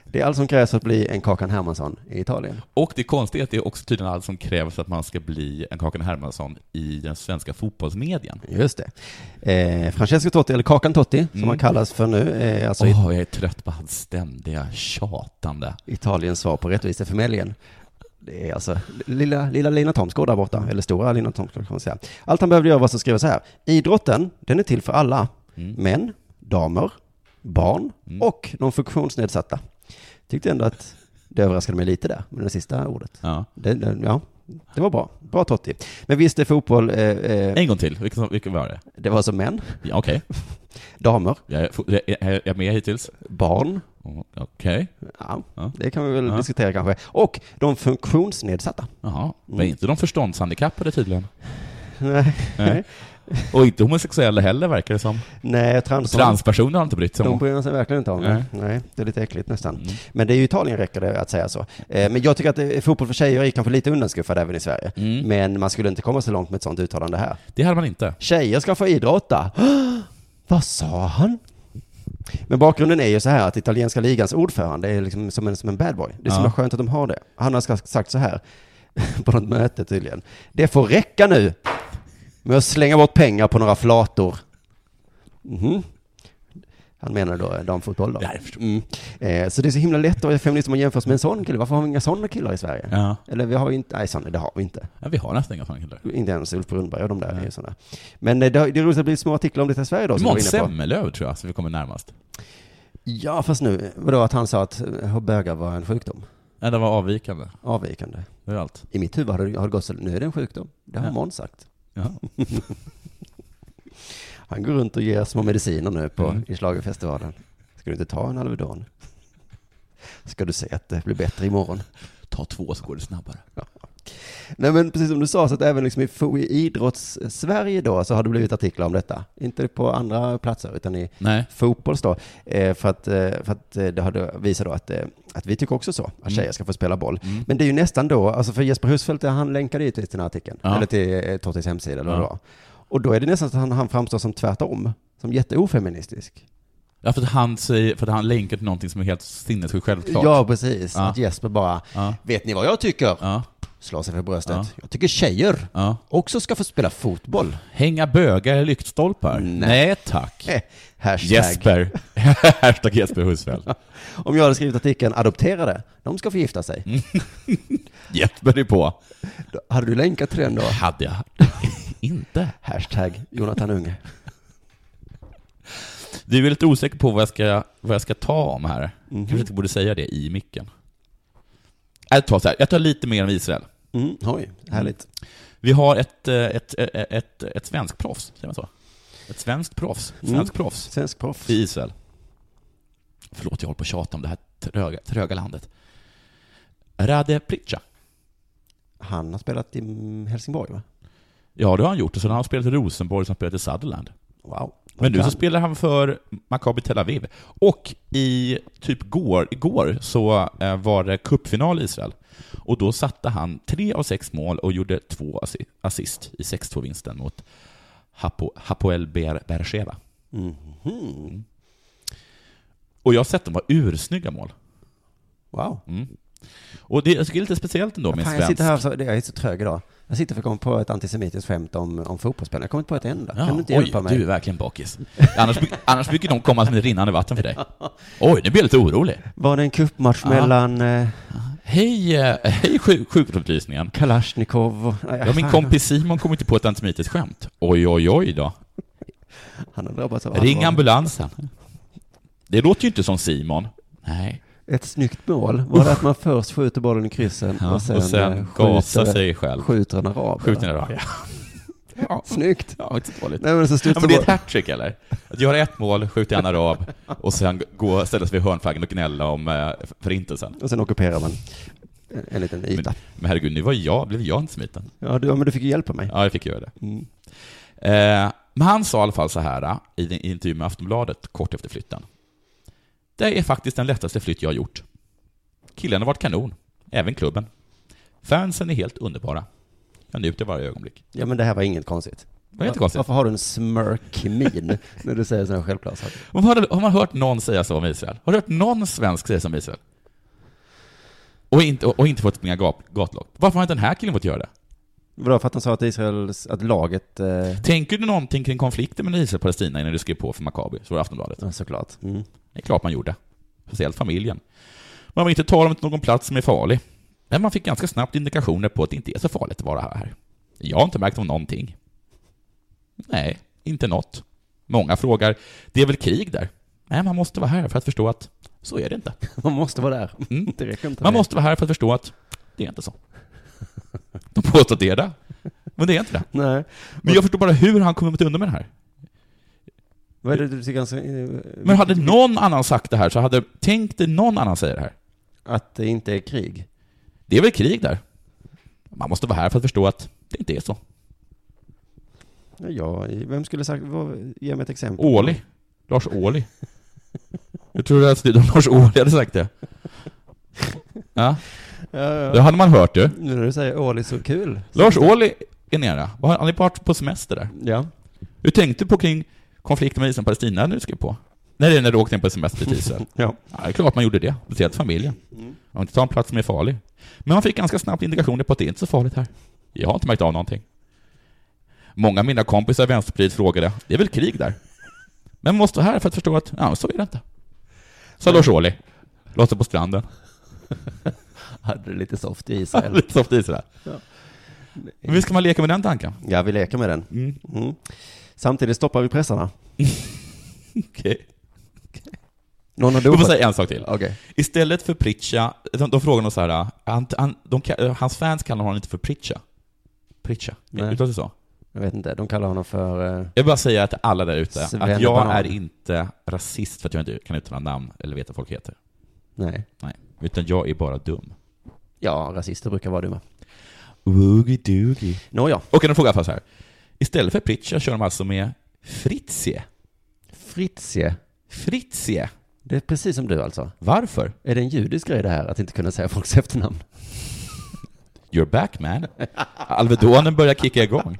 [SPEAKER 6] Det är allt som krävs för att bli en Kakan Hermansson i Italien.
[SPEAKER 8] Och det konstiga är att det är också tydligen allt som krävs för att man ska bli en Kakan Hermansson i den svenska fotbollsmedien.
[SPEAKER 6] Just det. Eh, Francesco Totti, eller Kakan Totti, som
[SPEAKER 8] Mm.
[SPEAKER 6] han kallas för nu, är alltså
[SPEAKER 8] Åh, jag är trött på hans ständiga tjatande.
[SPEAKER 6] Italiens svar på rättviseförmedlingen. Det är alltså lilla, lilla Lina Thomsgård där borta, eller stora Lina Thomsgård kan man säga. Allt han behövde göra var att skriva så här. Idrotten, den är till för alla. Män, damer, barn och de funktionsnedsatta. Tyckte ändå att det överraskade mig lite där, med det sista ordet.
[SPEAKER 8] Ja.
[SPEAKER 6] Det, det, ja, det var bra. Bra Totti. Men visst är fotboll, eh, eh,
[SPEAKER 8] En gång till, vilken, vilken var det?
[SPEAKER 6] det var alltså män,
[SPEAKER 8] Ja, Okej,
[SPEAKER 6] damer,
[SPEAKER 8] jag, är fo- jag är jag är med hittills.
[SPEAKER 6] barn,
[SPEAKER 8] Åh, Okej,
[SPEAKER 6] ja,
[SPEAKER 8] Ja.
[SPEAKER 6] det kan vi väl
[SPEAKER 8] Ja.
[SPEAKER 6] diskutera kanske, och de funktionsnedsatta.
[SPEAKER 8] jaha. Men
[SPEAKER 6] Mm.
[SPEAKER 8] inte de förståndshandikappade tydligen.
[SPEAKER 6] Nej,
[SPEAKER 8] Nej. Och inte homosexuella heller verkar det som.
[SPEAKER 6] nej trans-
[SPEAKER 8] Transpersoner har inte brytt sig
[SPEAKER 6] De
[SPEAKER 8] om.
[SPEAKER 6] bryr sig verkligen inte om
[SPEAKER 8] Nej. Mm.
[SPEAKER 6] det. Nej, det är lite äckligt nästan. Men det är ju Italien räcker det att säga så. Eh, Men jag tycker att eh, fotboll för tjejer är kanske lite undanskuffad även i Sverige.
[SPEAKER 8] Mm.
[SPEAKER 6] Men man skulle inte komma så långt med ett sånt uttalande här.
[SPEAKER 8] Det hade man inte.
[SPEAKER 6] Tjejer ska få idrotta. Vad sa han? Men bakgrunden är ju så här att italienska ligans ordförande är liksom som en, som en bad boy. Det är så
[SPEAKER 8] Ja.
[SPEAKER 6] himla skönt att de har det. Han har ska- sagt så här på något möte tydligen. Det får räcka nu med att slänga bort pengar på några flator. Mhm. Han menar då damfotboll då.
[SPEAKER 8] Ja, jag förstår.
[SPEAKER 6] Mm. Eh, så det är så himla lätt att vara feminist om man jämförs med en sån kille. Varför har vi inga sådana killar i Sverige?
[SPEAKER 8] Ja.
[SPEAKER 6] Eller vi har ju inte, nej sådana, det har vi inte.
[SPEAKER 8] Ja, vi har nästan inga sådana killar.
[SPEAKER 6] Inte ens Ulf Brunnberg och de där är ju sådana. Men eh, det, har- det är roligt att det blir små artiklar om det i Sverige då. som vi var
[SPEAKER 8] Måns
[SPEAKER 6] inne på.
[SPEAKER 8] Zelmerlöw tror jag, som vi kommer närmast.
[SPEAKER 6] Ja, fast nu, vadå att han sa att eh, bögar var en sjukdom?
[SPEAKER 8] Nej, det var avvikande.
[SPEAKER 6] Avvikande.
[SPEAKER 8] Det var allt.
[SPEAKER 6] I mitt huvud har det, har det gått så, nu är det en sjukdom. Det har
[SPEAKER 8] Ja.
[SPEAKER 6] Måns sagt.
[SPEAKER 8] Ja.
[SPEAKER 6] Han går runt och ger små mediciner nu på,
[SPEAKER 8] Mm.
[SPEAKER 6] i schlagerfestivalen. Ska du inte ta en Alvedon? Ska du se att det blir bättre imorgon?
[SPEAKER 8] Ta två så går det snabbare.
[SPEAKER 6] Nej men precis som du sa, så att även liksom i, fo- i idrotts-Sverige då så har det blivit artiklar om detta. Inte på andra platser utan i
[SPEAKER 8] Nej.
[SPEAKER 6] fotbolls då. Eh, för att, eh, för att eh, det har då visat då att, eh, att vi tycker också så, att
[SPEAKER 8] Mm.
[SPEAKER 6] tjejer ska få spela boll. Men det är ju nästan då, alltså för Jesper Husfeldt, han länkade ju till den här artikeln,
[SPEAKER 8] Ja.
[SPEAKER 6] eller till eh, Tottis hemsida eller vad
[SPEAKER 8] Ja.
[SPEAKER 6] det var. Och då är det nästan så att han, han framstår som tvärtom, som jätteofeministisk.
[SPEAKER 8] Ja, för att han, säger, för att han länkar till någonting som är helt sinnessjukt självklart.
[SPEAKER 6] Ja, precis.
[SPEAKER 8] Ja.
[SPEAKER 6] Att Jesper bara,
[SPEAKER 8] Ja.
[SPEAKER 6] vet ni vad jag tycker?
[SPEAKER 8] Ja.
[SPEAKER 6] Slår sig för bröstet.
[SPEAKER 8] Ja.
[SPEAKER 6] Jag tycker tjejer
[SPEAKER 8] ja.
[SPEAKER 6] också ska få spela fotboll.
[SPEAKER 8] Hänga bögar i lyktstolpar?
[SPEAKER 6] Nej.
[SPEAKER 8] tack.
[SPEAKER 6] Eh, Hashtag.
[SPEAKER 8] Jesper. Hashtag Jesper Husfeldt.
[SPEAKER 6] Om jag hade skrivit artikeln adopterade, de ska få gifta sig.
[SPEAKER 8] Mm. Jesper är på.
[SPEAKER 6] Då- Hade du länkat till den då?
[SPEAKER 8] Hade jag inte.
[SPEAKER 6] Hashtag Jonathan Unge.
[SPEAKER 8] Du är lite osäker på vad jag ska, vad jag ska ta om här. Kanske inte borde säga det i micken. Jag tar, så här. jag tar lite mer om Israel.
[SPEAKER 6] Mm, oj, härligt.
[SPEAKER 8] Vi har ett, eh, ett, ett, ett, ett svenskt proffs, säger man så? Ett svenskt proffs. Svensk
[SPEAKER 6] Mm.
[SPEAKER 8] proffs.
[SPEAKER 6] Svensk proffs.
[SPEAKER 8] i Israel. Förlåt, jag håller på att tjata om det här tröga, tröga landet. Rade Pritcha.
[SPEAKER 6] Han har spelat i mm, Helsingborg va?
[SPEAKER 8] Ja, det har han gjort. Och sen har han spelat i Rosenborg, sen har han spelat i Sutherland.
[SPEAKER 6] Wow.
[SPEAKER 8] Men nu så
[SPEAKER 6] Kan-
[SPEAKER 8] spelar han för Maccabi Tel Aviv. Och i typ går, igår så eh, var det cupfinal i Israel. Och då satte han tre av sex mål och gjorde två assi- assist i 6-2-vinsten mot Hapo, Hapoel Ber- Beersheva.
[SPEAKER 6] Mhm.
[SPEAKER 8] Mm. Och jag har sett dem vara ursnygga mål.
[SPEAKER 6] Wow.
[SPEAKER 8] Och det, jag tycker det är lite speciellt ändå med
[SPEAKER 6] Fan,
[SPEAKER 8] en
[SPEAKER 6] jag
[SPEAKER 8] svensk.
[SPEAKER 6] sitter här så, det- jag är så trög idag. Jag sitter för att komma på ett antisemitiskt skämt om, om fotbollsspelare. Jag kommer inte på ett enda. kan du inte hjälpa
[SPEAKER 8] oj,
[SPEAKER 6] mig?
[SPEAKER 8] du är verkligen bakis. Annars, bru- annars brukar de komma som ett rinnande vatten för dig. Oj, nu blir jag lite orolig.
[SPEAKER 6] Var det en kuppmatch
[SPEAKER 8] Ja.
[SPEAKER 6] mellan eh,
[SPEAKER 8] Hej, eh, hej sjuk- sjukvårdsupplysningen.
[SPEAKER 6] Kalashnikov och... Nej,
[SPEAKER 8] Ja, min
[SPEAKER 6] fan,
[SPEAKER 8] kompis Simon kom inte på ett antisemitiskt skämt. Oj, oj, oj då.
[SPEAKER 6] Han har drabbats av
[SPEAKER 8] Ring
[SPEAKER 6] allvarlig-
[SPEAKER 8] ambulansen. Det låter ju inte som Simon. Nej.
[SPEAKER 6] Ett snyggt mål. Var det att man först skjuter bollen i kryssen
[SPEAKER 8] Ja,
[SPEAKER 6] och sen,
[SPEAKER 8] och sen
[SPEAKER 6] eh,
[SPEAKER 8] gasar
[SPEAKER 6] skjuter-
[SPEAKER 8] sig själv.
[SPEAKER 6] Skjuter en arab?
[SPEAKER 8] Skjut
[SPEAKER 6] eller?
[SPEAKER 8] ner ja. Ja.
[SPEAKER 6] Snyggt.
[SPEAKER 8] Ja, inte så dåligt.
[SPEAKER 6] Nej, men så
[SPEAKER 8] ja,
[SPEAKER 6] studsar
[SPEAKER 8] men det är ett
[SPEAKER 6] bollen.
[SPEAKER 8] hattrick eller? Att göra ett mål, skjuta en arab och sen gå, ställa sig vid hörnflaggan och gnälla om eh, förintelsen.
[SPEAKER 6] Och sen ockuperar man en, en liten yta.
[SPEAKER 8] Men, men herregud, nu var jag, blev jag inte smiten.
[SPEAKER 6] Ja, du, ja, men du fick ju hjälpa mig.
[SPEAKER 8] Ja, jag fick göra det.
[SPEAKER 6] Mm.
[SPEAKER 8] Eh, men han sa i alla fall så här eh, i en intervju med Aftonbladet kort efter flytten. Det är faktiskt den lättaste flytt jag har gjort. Killen har varit kanon, även klubben. Fansen är helt underbara. Jag njuter varje ögonblick.
[SPEAKER 6] Ja, men det här var inget konstigt.
[SPEAKER 8] Var det inte konstigt?
[SPEAKER 6] Varför har du en smirk-min när du säger sådana självklara saker?
[SPEAKER 8] Men Har, du- har man hört någon säga så om Israel? Har du hört någon svensk säga så om Israel? Och inte, och, och inte fått springa gat, gatlopp. Varför har inte den här killen fått göra det?
[SPEAKER 6] Vadå, för att han sa att Israels, att laget... Eh,
[SPEAKER 8] Tänker du någonting kring konflikten mellan Israel och Palestina innan du skrev på för Maccabi? Så var det Aftonbladet.
[SPEAKER 6] ja, såklart. Mm.
[SPEAKER 8] Det är klart man gjorde. Speciellt familjen. Man vill inte ta dem till någon plats som är farlig. Men man fick ganska snabbt indikationer på att det inte är så farligt att vara här. Jag har inte märkt av någonting. Nej, inte något. Många frågar, det är väl krig där? Nej, man måste vara här för att förstå att så är det inte.
[SPEAKER 6] Man måste vara där.
[SPEAKER 8] Mm.
[SPEAKER 6] Det räcker inte
[SPEAKER 8] Man
[SPEAKER 6] med-
[SPEAKER 8] måste vara här för att förstå att det är inte så. De påstår att det är det, men det är inte det.
[SPEAKER 6] Nej.
[SPEAKER 8] Men jag förstår bara hur han kommit undan med det här.
[SPEAKER 6] Vad är det du tycker han säger?
[SPEAKER 8] Men hade någon annan sagt det här så hade, tänk dig någon annan säger det här.
[SPEAKER 6] Att det inte är krig?
[SPEAKER 8] Det är väl krig där? Man måste vara här för att förstå att det inte är så.
[SPEAKER 6] Ja, Ja, vem skulle sagt... Vad, ge mig ett exempel.
[SPEAKER 8] Åli. Lars Åli. Jag tror att det var Lars Åli hade sagt det. Ja,
[SPEAKER 6] Ja, ja.
[SPEAKER 8] det hade man hört ju.
[SPEAKER 6] Nu när du säger Åli så kul.
[SPEAKER 8] Lars Åli är nere. Var- Han är part på semester där.
[SPEAKER 6] Ja.
[SPEAKER 8] Hur tänkte du på kring konflikten mellan Israel och Palestina när du skrev på? Nej, det är när du åkte in på semester till Israel.
[SPEAKER 6] Ja.
[SPEAKER 8] Ja, det är klart man gjorde det. Speciellt familjen. Man vill inte ta en plats som är farlig. Men man fick ganska snabbt indikationer på att det är inte är så farligt här. Jag har inte märkt av någonting. Många av mina kompisar i Vänsterpartiet frågade, det är väl krig där? Men man måste vara här för att förstå att, ja, så är det inte. Sa Lars Ohly. Låt det på stranden.
[SPEAKER 6] Hade det lite soft i Israel.
[SPEAKER 8] Lite soft is där. Men hur ska man leka med den tanken?
[SPEAKER 6] Ja, vi leker med den.
[SPEAKER 8] Mm.
[SPEAKER 6] Mm. Samtidigt stoppar vi pressarna.
[SPEAKER 8] Okej.
[SPEAKER 6] Någon har
[SPEAKER 8] Jag får
[SPEAKER 6] dopat.
[SPEAKER 8] säga en sak till.
[SPEAKER 6] Okej.
[SPEAKER 8] Istället för Pritcha, de, de frågar nog så här, han, han, de, ka- hans fans kallar honom inte för Pritcha. Pritcha,
[SPEAKER 6] Nej.
[SPEAKER 8] uttalas det så?
[SPEAKER 6] Jag vet inte. De kallar honom för... Eh,
[SPEAKER 8] Jag vill bara säga till alla där ute att jag
[SPEAKER 6] Svennebanan.
[SPEAKER 8] är inte rasist för att jag inte kan uttala namn eller veta vad folk heter.
[SPEAKER 6] nej.
[SPEAKER 8] Nej. Utan jag är bara dum.
[SPEAKER 6] Ja, rasister brukar vara dumma.
[SPEAKER 8] Woogie doogie.
[SPEAKER 6] Nåja.
[SPEAKER 8] Och en fråga för så här. Istället för Pritcha kör de alltså med Fritzie.
[SPEAKER 6] Fritzie.
[SPEAKER 8] Fritzie.
[SPEAKER 6] Det är precis som du alltså.
[SPEAKER 8] Varför?
[SPEAKER 6] Är det en judisk grej det här, att inte kunna säga folks efternamn?
[SPEAKER 8] You're back man. Alvedonen börjar kicka igång.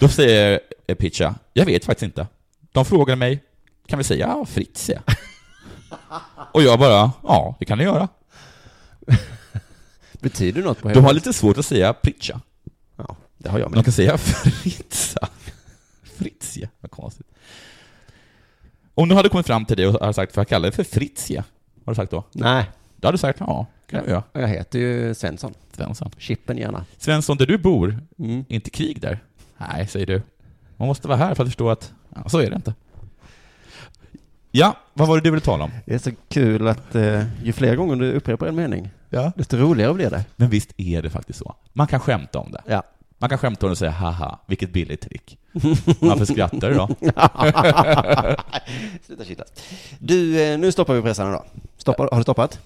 [SPEAKER 8] Då säger eh, Pitcha, jag vet faktiskt inte. De frågar mig, kan vi säga ja, Fritzie? Och jag bara, ja, det kan ni göra.
[SPEAKER 6] Betyder det något på
[SPEAKER 8] De har lite svårt att säga Pritcha.
[SPEAKER 6] Ja, det har jag
[SPEAKER 8] De
[SPEAKER 6] med.
[SPEAKER 8] kan säga Fritza. Fritzia, vad konstigt. Om du hade kommit fram till dig och hade sagt, för jag kallar dig för Fritzia, vad har du sagt då?
[SPEAKER 6] Nej,
[SPEAKER 8] Då hade du sagt, ja, kan jag göra.
[SPEAKER 6] jag heter ju Svensson.
[SPEAKER 8] Svensson.
[SPEAKER 6] Chippen gärna.
[SPEAKER 8] Svensson, där du bor,
[SPEAKER 6] Mm.
[SPEAKER 8] är inte krig där? Nej, säger du. Man måste vara här för att förstå att, ja, så är det inte. Ja, vad var det du ville tala om?
[SPEAKER 6] Det är så kul att eh, ju fler gånger du upprepar en mening,
[SPEAKER 8] Ja.
[SPEAKER 6] desto roligare blir det.
[SPEAKER 8] Men visst är det faktiskt så. Man kan skämta om det.
[SPEAKER 6] Ja.
[SPEAKER 8] Man kan skämta om det och säga, haha, vilket billigt trick. Varför skrattar du då?
[SPEAKER 6] Sluta kittla. Du, eh, nu stoppar vi pressarna då. Stoppar, har du stoppat?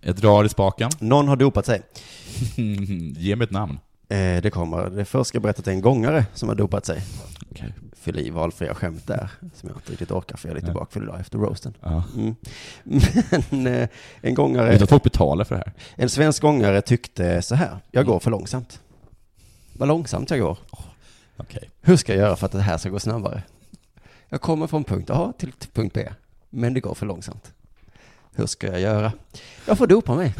[SPEAKER 8] Jag drar i spaken.
[SPEAKER 6] Någon har dopat sig.
[SPEAKER 8] Ge mig ett namn.
[SPEAKER 6] Eh, det kommer. Det först ska jag berätta att det är en gångare som har dopat sig.
[SPEAKER 8] Okej.
[SPEAKER 6] Fyll i valfria skämt där, som jag inte riktigt orkar för jag är lite
[SPEAKER 8] Ja.
[SPEAKER 6] bakfull idag efter roasten.
[SPEAKER 8] Ja.
[SPEAKER 6] Mm. Men eh, en gångare...
[SPEAKER 8] Utan att folk betalar för det här.
[SPEAKER 6] En svensk gångare tyckte så här, jag går för långsamt. Vad långsamt jag går.
[SPEAKER 8] Okej.
[SPEAKER 6] Hur ska jag göra för att det här ska gå snabbare? Jag kommer från punkt A till t- punkt B, men det går för långsamt. Hur ska jag göra? Jag får dopa mig.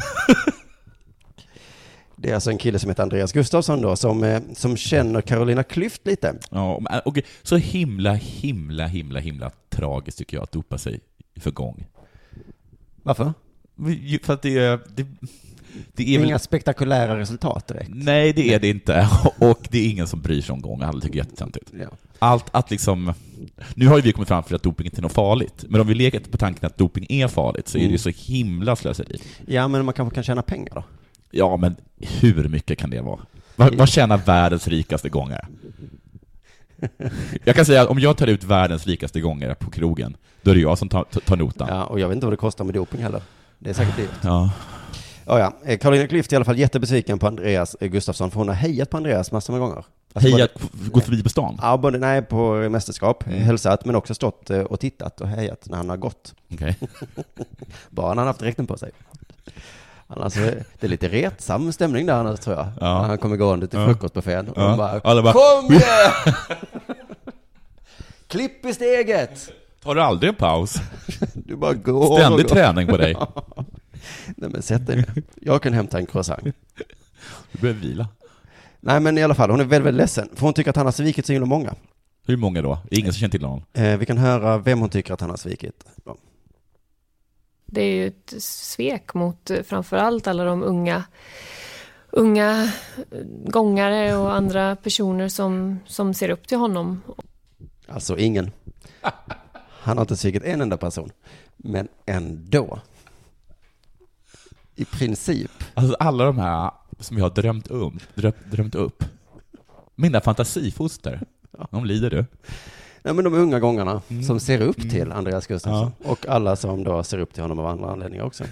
[SPEAKER 6] Det är alltså en kille som heter Andreas Gustafsson då, som, eh, som känner Carolina Klüft lite.
[SPEAKER 8] Ja, men, okej. Så himla, himla, himla, himla tragiskt tycker jag att dopa sig för gång.
[SPEAKER 6] Varför?
[SPEAKER 8] Ju- För att det är... Det, det är väl,
[SPEAKER 6] Inga spektakulära resultat direkt.
[SPEAKER 8] nej, det är det inte. Och det är ingen som bryr sig om gång. Alla tycker det är jättetöntigt.
[SPEAKER 6] Ja.
[SPEAKER 8] Allt att liksom... Nu har ju vi kommit fram till att doping inte är något farligt. Men om vi leker på tanken att doping är farligt så är det
[SPEAKER 6] Mm.
[SPEAKER 8] ju så himla slöseri.
[SPEAKER 6] ja, men man kanske kan tjäna pengar då?
[SPEAKER 8] Ja, men hur mycket kan det vara? Vad, vad tjänar världens rikaste gångare? Jag kan säga att om jag tar ut världens rikaste gångare på krogen, då är det jag som tar, tar notan.
[SPEAKER 6] Ja, och jag vet inte vad det kostar med doping heller. Det är säkert dyrt.
[SPEAKER 8] Ja.
[SPEAKER 6] Oh, ja. Eh, Carolina Klüft är i alla fall jättebesviken på Andreas eh, Gustafsson, för hon har hejat på Andreas massor med gånger. Alltså,
[SPEAKER 8] Heja, gå förbi på stan?
[SPEAKER 6] både- Ja, både nej, på mästerskap,
[SPEAKER 8] Mm.
[SPEAKER 6] hälsat, men också stått eh, och tittat och hejat när han har gått.
[SPEAKER 8] Okej.
[SPEAKER 6] Bara när han haft dräkten på sig. Annars är det är lite retsam stämning där annars tror jag.
[SPEAKER 8] Ja.
[SPEAKER 6] När han kommer gående till
[SPEAKER 8] Ja.
[SPEAKER 6] frukostbuffén och
[SPEAKER 8] Ja.
[SPEAKER 6] de bara,
[SPEAKER 8] Alla bara,
[SPEAKER 6] Kom igen! Klipp i steget!
[SPEAKER 8] Tar du aldrig en paus?
[SPEAKER 6] Du bara går
[SPEAKER 8] Ständig
[SPEAKER 6] och går.
[SPEAKER 8] träning på dig.
[SPEAKER 6] Nej men sätt dig ner. Jag kan hämta en croissant.
[SPEAKER 8] Du behöver vila.
[SPEAKER 6] Nej men i alla fall, hon är väldigt, väldigt ledsen. För hon tycker att han har svikit så himla många.
[SPEAKER 8] Hur många då? Det är ingen som känner till någon.
[SPEAKER 6] Eh, vi kan höra vem hon tycker att han har svikit. Ja.
[SPEAKER 12] Det är ju ett svek mot eh, framförallt alla de unga, unga eh, gångare och andra personer som, som ser upp till honom.
[SPEAKER 6] Alltså ingen. Han har inte svikit en enda person. Men ändå. I princip.
[SPEAKER 8] Alltså alla de här som jag har drömt, um, drömt, drömt upp. Mina fantasifoster. De lider du.
[SPEAKER 6] Nej men de unga gångarna
[SPEAKER 8] Mm.
[SPEAKER 6] som ser upp till Andreas Gustafsson. Och alla som då ser upp till honom av andra anledningar också.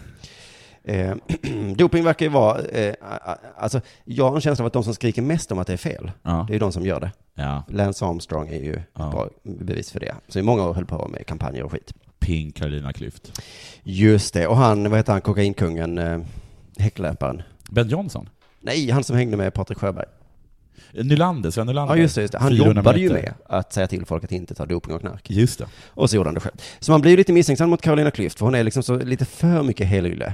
[SPEAKER 6] Eh, doping verkar ju vara, eh, a- a- alltså jag har en känsla av att de som skriker mest om att det är fel,
[SPEAKER 8] Ja.
[SPEAKER 6] det är ju de som gör det.
[SPEAKER 8] Ja.
[SPEAKER 6] Lance Armstrong är ju ett
[SPEAKER 8] Ja.
[SPEAKER 6] bra bevis för det. Så i många år höll på med kampanjer och skit.
[SPEAKER 8] Ping Carolina Klüft.
[SPEAKER 6] Just det, och han, vad heter han, kokainkungen, eh, häcklöparen?
[SPEAKER 8] Ben Johnson.
[SPEAKER 6] Nej, han som hängde med Patrik Sjöberg.
[SPEAKER 8] Nylander, Sven Nylander.
[SPEAKER 6] Ja, just det, just det. Han
[SPEAKER 8] 400
[SPEAKER 6] jobbade ju
[SPEAKER 8] meter.
[SPEAKER 6] med att säga till folk att inte ta doping och knark.
[SPEAKER 8] Just det.
[SPEAKER 6] Och så gjorde han det själv. Så man blir ju lite misstänksam mot Carolina Klüft, för hon är liksom så lite för mycket helylle.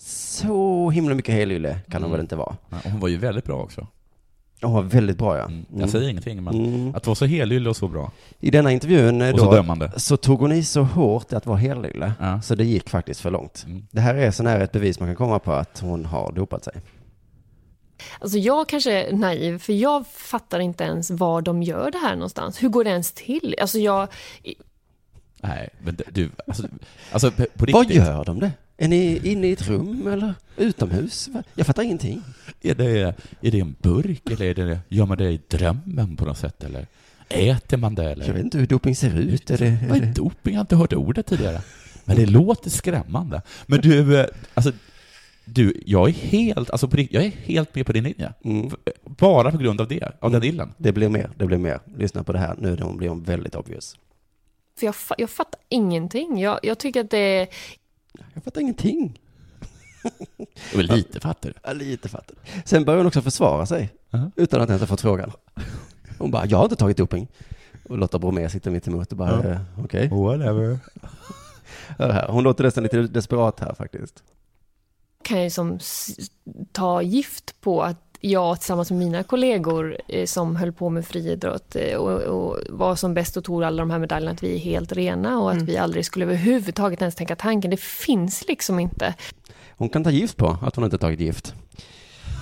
[SPEAKER 6] Så himla mycket helylle kan
[SPEAKER 8] Mm.
[SPEAKER 6] hon väl inte vara.
[SPEAKER 8] Ja, och Hon var ju väldigt bra också.
[SPEAKER 6] Åh, väldigt bra ja.
[SPEAKER 8] Mm.
[SPEAKER 6] Mm.
[SPEAKER 8] Jag säger ingenting, men
[SPEAKER 6] Mm.
[SPEAKER 8] att vara så helylle och så bra.
[SPEAKER 6] I denna intervjun eh,
[SPEAKER 8] Och så
[SPEAKER 6] då,
[SPEAKER 8] dömande.
[SPEAKER 6] så tog hon i så hårt att vara helylle,
[SPEAKER 8] Ja.
[SPEAKER 6] så det gick faktiskt för långt.
[SPEAKER 8] Mm.
[SPEAKER 6] Det här är så nära ett bevis man kan komma på att hon har dopat sig.
[SPEAKER 12] Alltså jag kanske är naiv, för jag fattar inte ens var de gör det här någonstans. Hur går det ens till? Alltså jag,
[SPEAKER 8] Nej, men det- du, alltså, alltså på på riktigt.
[SPEAKER 6] Vad gör de det? Är ni inne i ett rum eller utomhus? Va? Jag fattar ingenting.
[SPEAKER 8] Är det, är det en burk eller är det, gör man det i drömmen på något sätt eller? Äter man det eller?
[SPEAKER 6] Jag vet inte hur doping ser ut. Är det, är
[SPEAKER 8] Vad är
[SPEAKER 6] det-
[SPEAKER 8] doping? Jag har inte hört ordet tidigare. Men det låter skrämmande. Men du, eh, alltså, du, jag är helt, alltså på rikt- jag är helt med på din linje.
[SPEAKER 6] Mm.
[SPEAKER 8] F- Bara på grund av det, av den illen.
[SPEAKER 6] det blir mer, det blir mer. Lyssna på det här nu, de blir hon väldigt obvious.
[SPEAKER 12] för jag, fa- jag fattar ingenting. Jag, jag tycker att det är
[SPEAKER 6] Jag fattar ingenting.
[SPEAKER 8] Jag är lite fattig.
[SPEAKER 6] Ja, lite fattar. Sen börjar hon också försvara sig,
[SPEAKER 8] Aha.
[SPEAKER 6] utan att ens ha fått frågan. Hon bara, jag har inte tagit doping. Och Lotta Bromé sitter mitt emot och bara,
[SPEAKER 8] Ja.
[SPEAKER 6] eh, okej.
[SPEAKER 8] Whatever.
[SPEAKER 6] Hör här. Hon låter nästan lite desperat här faktiskt.
[SPEAKER 12] kan jag ju som liksom s- ta gift på att jag tillsammans med mina kollegor eh, som höll på med friidrott eh, och, och var som bäst och tog alla de här medaljerna, att vi är helt rena och att vi aldrig skulle överhuvudtaget ens tänka tanken. Det finns liksom inte.
[SPEAKER 6] Hon kan ta gift på att hon inte tagit gift.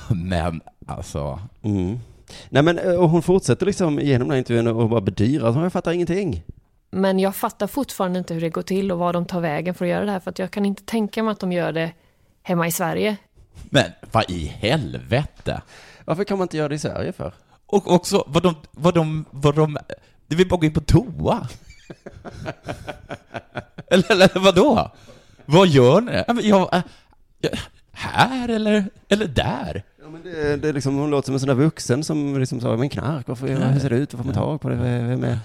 [SPEAKER 8] Men alltså,
[SPEAKER 6] Mm. Nej men, eh, och hon fortsätter liksom genom den här intervjun och bara bedyrar att hon fattar ingenting.
[SPEAKER 12] Men jag fattar fortfarande inte hur det går till och vad de tar vägen för att göra det här, för att jag kan inte tänka mig att de gör det hemma i Sverige.
[SPEAKER 8] men vad i helvete?
[SPEAKER 6] Varför kan man inte göra det i Sverige för?
[SPEAKER 8] Och också vad de, vad de, vad de, det vill bara gå in på toa. eller, eller vadå? Vad gör ni? Ja, men Jag, äh, jag, här eller, eller där?
[SPEAKER 6] Ja, men det, det är liksom, hon låter som en sån där vuxen som liksom sa, men knark, varför, hur ser det ut, varför får man tag på det, vem är...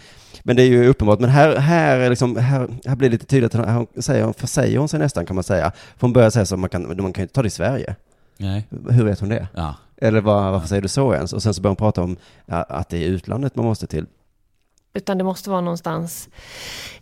[SPEAKER 6] Men det är ju uppenbart, men här, här, är liksom, här, här blir det lite tydligt, att hon hon säger, försäger hon sig nästan kan man säga. För hon börjar säga så, man kan, man kan ju inte ta det i Sverige.
[SPEAKER 8] Nej.
[SPEAKER 6] Hur vet hon det?
[SPEAKER 8] Ja.
[SPEAKER 6] Eller vad, varför säger du så ens? Och sen så börjar hon prata om ja, att det är utlandet man måste till.
[SPEAKER 12] Utan det måste vara någonstans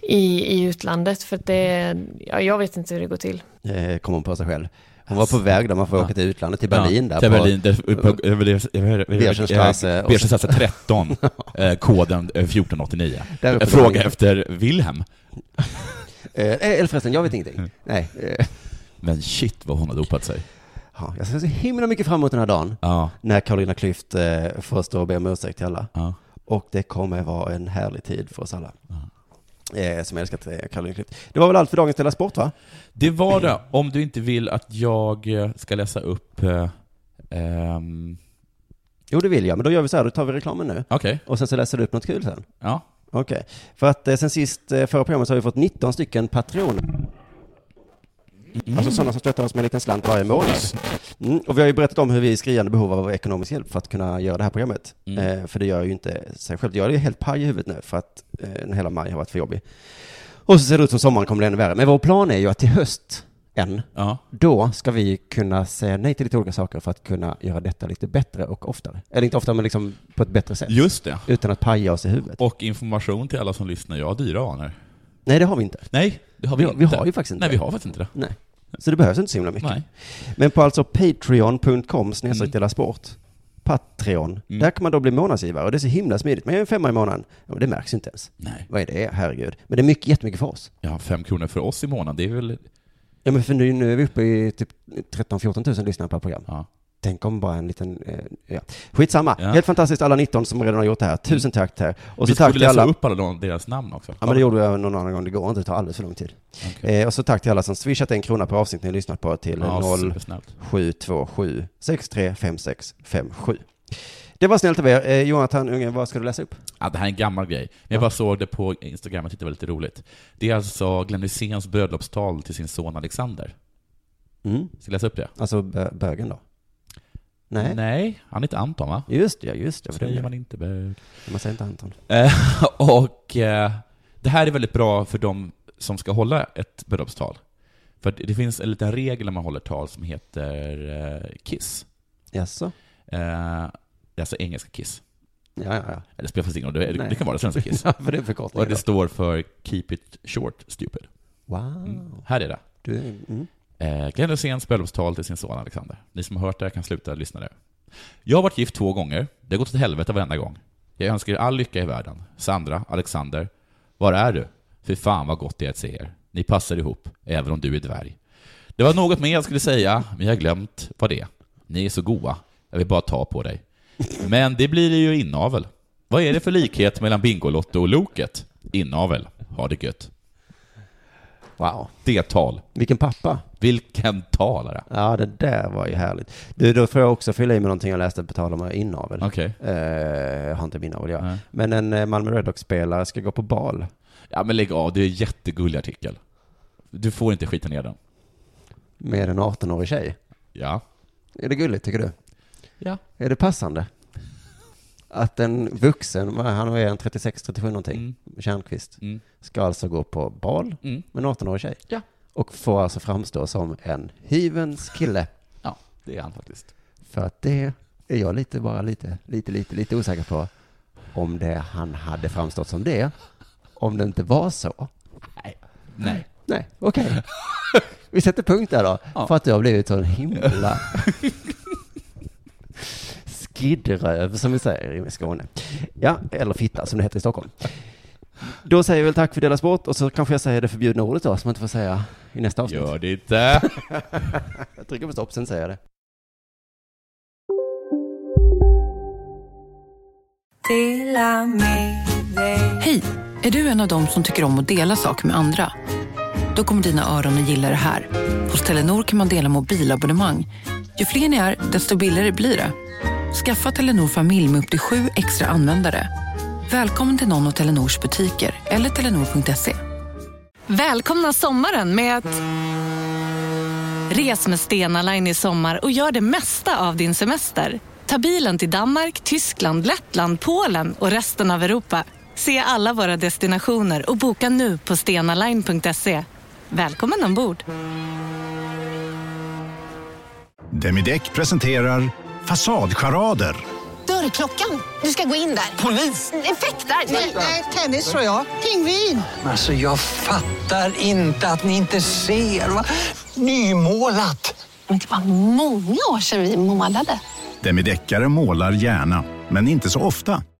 [SPEAKER 12] i, i utlandet, för att det, ja, jag vet inte hur det går till. Alltså.
[SPEAKER 6] Eh, kom hon på sig själv. Hon var på väg där, man får åka till utlandet, till Berlin där.
[SPEAKER 8] ja, Till
[SPEAKER 6] på-
[SPEAKER 8] Berlin, där, på, på,
[SPEAKER 6] Bärsenstrasse och-
[SPEAKER 8] Bersenstrasse 13, eh, koden eh, 1489.
[SPEAKER 6] Där uppe
[SPEAKER 8] Eh,
[SPEAKER 6] på
[SPEAKER 8] Fråga
[SPEAKER 6] Berlin.
[SPEAKER 8] efter Wilhelm.
[SPEAKER 6] Eh, eller förresten, jag vet ingenting. Nej. Eh,
[SPEAKER 8] Men shit vad hon har dopat sig.
[SPEAKER 6] ja, jag ser så himla mycket fram emot den här dagen.
[SPEAKER 8] Ja,
[SPEAKER 6] när Carolina Klüft eh, får stå och be om ursäkt till alla.
[SPEAKER 8] ja.
[SPEAKER 6] Och det kommer vara en härlig tid för oss alla. Eh, som älskat eh, Carolina Klüft. Det var väl allt för dagens Della Sport va?
[SPEAKER 8] Det var det, om du inte vill att jag eh, ska läsa upp eh, ehm,
[SPEAKER 6] Jo, det vill jag, men då gör vi så här, då tar vi reklamen nu.
[SPEAKER 8] Okej. Okay.
[SPEAKER 6] Och sen så läser du upp något kul sen.
[SPEAKER 8] Ja.
[SPEAKER 6] Okej. Okay. För att eh, sen sist, eh, förra programmet, så har vi fått 19 stycken patroner. Mm. Alltså sådana som stöttar oss med en liten slant varje månad. Mm. Och vi har ju berättat om hur vi är i skriande behov av ekonomisk hjälp för att kunna göra det här programmet. Mm. Eh, för det gör ju inte sig självt. Jag är helt paj i huvudet nu för att eh, hela maj har varit för jobbig. Och så ser det ut som sommaren kommer bli ännu värre. Men vår plan är ju att till höst, än,
[SPEAKER 8] ja.
[SPEAKER 6] då ska vi kunna säga nej till lite olika saker för att kunna göra detta lite bättre och oftare. Eller inte oftare, men liksom på ett bättre sätt.
[SPEAKER 8] Just det.
[SPEAKER 6] Utan att paja oss i huvudet.
[SPEAKER 8] Och information till alla som lyssnar. Jag har dyra anor.
[SPEAKER 6] Nej, det har vi inte.
[SPEAKER 8] Nej, det har vi,
[SPEAKER 6] vi,
[SPEAKER 8] inte.
[SPEAKER 6] Vi har ju faktiskt inte
[SPEAKER 8] Nej, vi har faktiskt inte det.
[SPEAKER 6] Nej. Så det behövs inte så himla mycket.
[SPEAKER 8] Nej. Mm.
[SPEAKER 6] Men på alltså patreon.com snedstreck dela sport, Patreon, mm. där kan man då bli månadsgivare och det är så himla smidigt. Man gör en femma i månaden och det märks inte ens.
[SPEAKER 8] Nej.
[SPEAKER 6] Vad är det? Herregud. Men det är mycket, jättemycket för oss.
[SPEAKER 8] Ja, fem kronor för oss i månaden, det är väl...
[SPEAKER 6] Ja, men för nu, nu är vi uppe i typ 13-14 tusen lyssnare per program.
[SPEAKER 8] Ja.
[SPEAKER 6] Tänk om bara en liten, eh, ja. skitsamma. Ja. Helt fantastiskt alla 19 som redan har gjort det här. Tusen tack till er.
[SPEAKER 8] Och Mm. vi skulle läsa alla... upp alla deras namn också.
[SPEAKER 6] Ja men det gjorde jag någon annan gång, det går inte, det tar alldeles för lång tid. Okay. Eh, och så tack till alla som swishat en krona per avsnitt ni lyssnat på till ja, 0727 635657. Det var snällt av er. Eh, Jonathan Ungen, vad ska du läsa upp?
[SPEAKER 8] Ja, det här är en gammal grej. Men jag bara såg det på Instagram, jag tyckte det var lite roligt. Det är alltså Glenn Hyséns bröllopstal till sin son Alexander.
[SPEAKER 6] Mm.
[SPEAKER 8] Ska jag läsa upp det?
[SPEAKER 6] Alltså bö bögen då? Nej.
[SPEAKER 8] Nej. han heter Anton va?
[SPEAKER 6] Just ja, just det.
[SPEAKER 8] Säger man inte bög.
[SPEAKER 6] Man säger inte Anton.
[SPEAKER 8] och eh, det här är väldigt bra för de som ska hålla ett bröllopstal. För det finns en liten regel när man håller tal som heter eh, KISS.
[SPEAKER 6] Jaså?
[SPEAKER 8] Eh, det är alltså engelska KISS.
[SPEAKER 6] Ja, ja, ja.
[SPEAKER 8] Det spelar faktiskt ingen roll, det, det kan vara svenska KISS.
[SPEAKER 6] ja, för det är förkortning.
[SPEAKER 8] Och det står för Keep It Short Stupid.
[SPEAKER 6] Wow.
[SPEAKER 8] Mm. Här är det.
[SPEAKER 6] Du, mm.
[SPEAKER 8] Eh, Glenn Hyséns bröllopstal till sin son Alexander. Ni som har hört det kan sluta lyssna nu. Jag har varit gift två gånger. Det har gått åt helvete varenda gång. Jag önskar er all lycka i världen. Sandra, Alexander, var är du? Fy fan vad gott det är att se er. Ni passar ihop, även om du är dvärg. Det var något mer jag skulle säga, men jag har glömt vad det är. Ni är så goa. Jag vill bara ta på dig. Men det blir ju inavel. Vad är det för likhet mellan Bingolotto och Loket? Inavel. Ha det gött.
[SPEAKER 6] Wow.
[SPEAKER 8] Det tal.
[SPEAKER 6] Vilken pappa.
[SPEAKER 8] Vilken talare.
[SPEAKER 6] Ja, det där var ju härligt. Du, då får jag också fylla i med någonting jag läste på tal om inavel.
[SPEAKER 8] Okej.
[SPEAKER 6] Okay. Eh, jag har inte minavel, jag. Mm. Men en Malmö Redhawks-spelare ska gå på bal.
[SPEAKER 8] Ja, men lägg av. Det är en jättegullig artikel. Du får inte skita ner den.
[SPEAKER 6] Med en 18-årig tjej?
[SPEAKER 8] Ja.
[SPEAKER 6] Är det gulligt, tycker du?
[SPEAKER 8] Ja.
[SPEAKER 6] Är det passande? Att en vuxen, han är en 36-37 någonting, mm. Kärnqvist,
[SPEAKER 8] mm.
[SPEAKER 6] ska alltså gå på bal
[SPEAKER 8] mm.
[SPEAKER 6] med en 18-årig tjej.
[SPEAKER 8] Ja.
[SPEAKER 6] Och får alltså framstå som en hyvens kille.
[SPEAKER 8] Ja, det är han faktiskt.
[SPEAKER 6] För att det är jag lite, bara lite, lite, lite, lite osäker på om det han hade framstått som det, om det inte var så.
[SPEAKER 8] Nej. Nej.
[SPEAKER 6] Nej, okej. Okay. Vi sätter punkt där då,
[SPEAKER 8] ja.
[SPEAKER 6] för att du har blivit så himla... skidröv som vi säger i Skåne. Ja, eller fitta som det heter i Stockholm. Då säger jag väl tack för Dela Sport och så kanske jag säger det förbjudna ordet då som man inte får säga i nästa avsnitt.
[SPEAKER 8] Gör det inte!
[SPEAKER 6] jag trycker på stopp, sen säger jag det.
[SPEAKER 2] Hej! Är du en av dem som tycker om att dela saker med andra? Då kommer dina öron att gilla det här. Hos Telenor kan man dela mobilabonnemang. Ju fler ni är, desto billigare blir det. Skaffa Telenor familj med upp till sju extra användare. Välkommen till någon av Telenors butiker eller telenor.se.
[SPEAKER 3] Välkomna sommaren med att... Res med Stena Line i sommar och gör det mesta av din semester. Ta bilen till Danmark, Tyskland, Lettland, Polen och resten av Europa. Se alla våra destinationer och boka nu på stenaline.se. Välkommen ombord!
[SPEAKER 1] Demideck presenterar Fasadcharader.
[SPEAKER 13] Dörrklockan. Du ska gå in där.
[SPEAKER 14] Polis?
[SPEAKER 13] Effektar?
[SPEAKER 14] Nej, tennis tror jag. Pingvin.
[SPEAKER 15] Alltså, jag fattar inte att ni inte ser. Va? Nymålat.
[SPEAKER 13] Men det var många år sedan vi målade.
[SPEAKER 1] Demideckare målar gärna, men inte så ofta.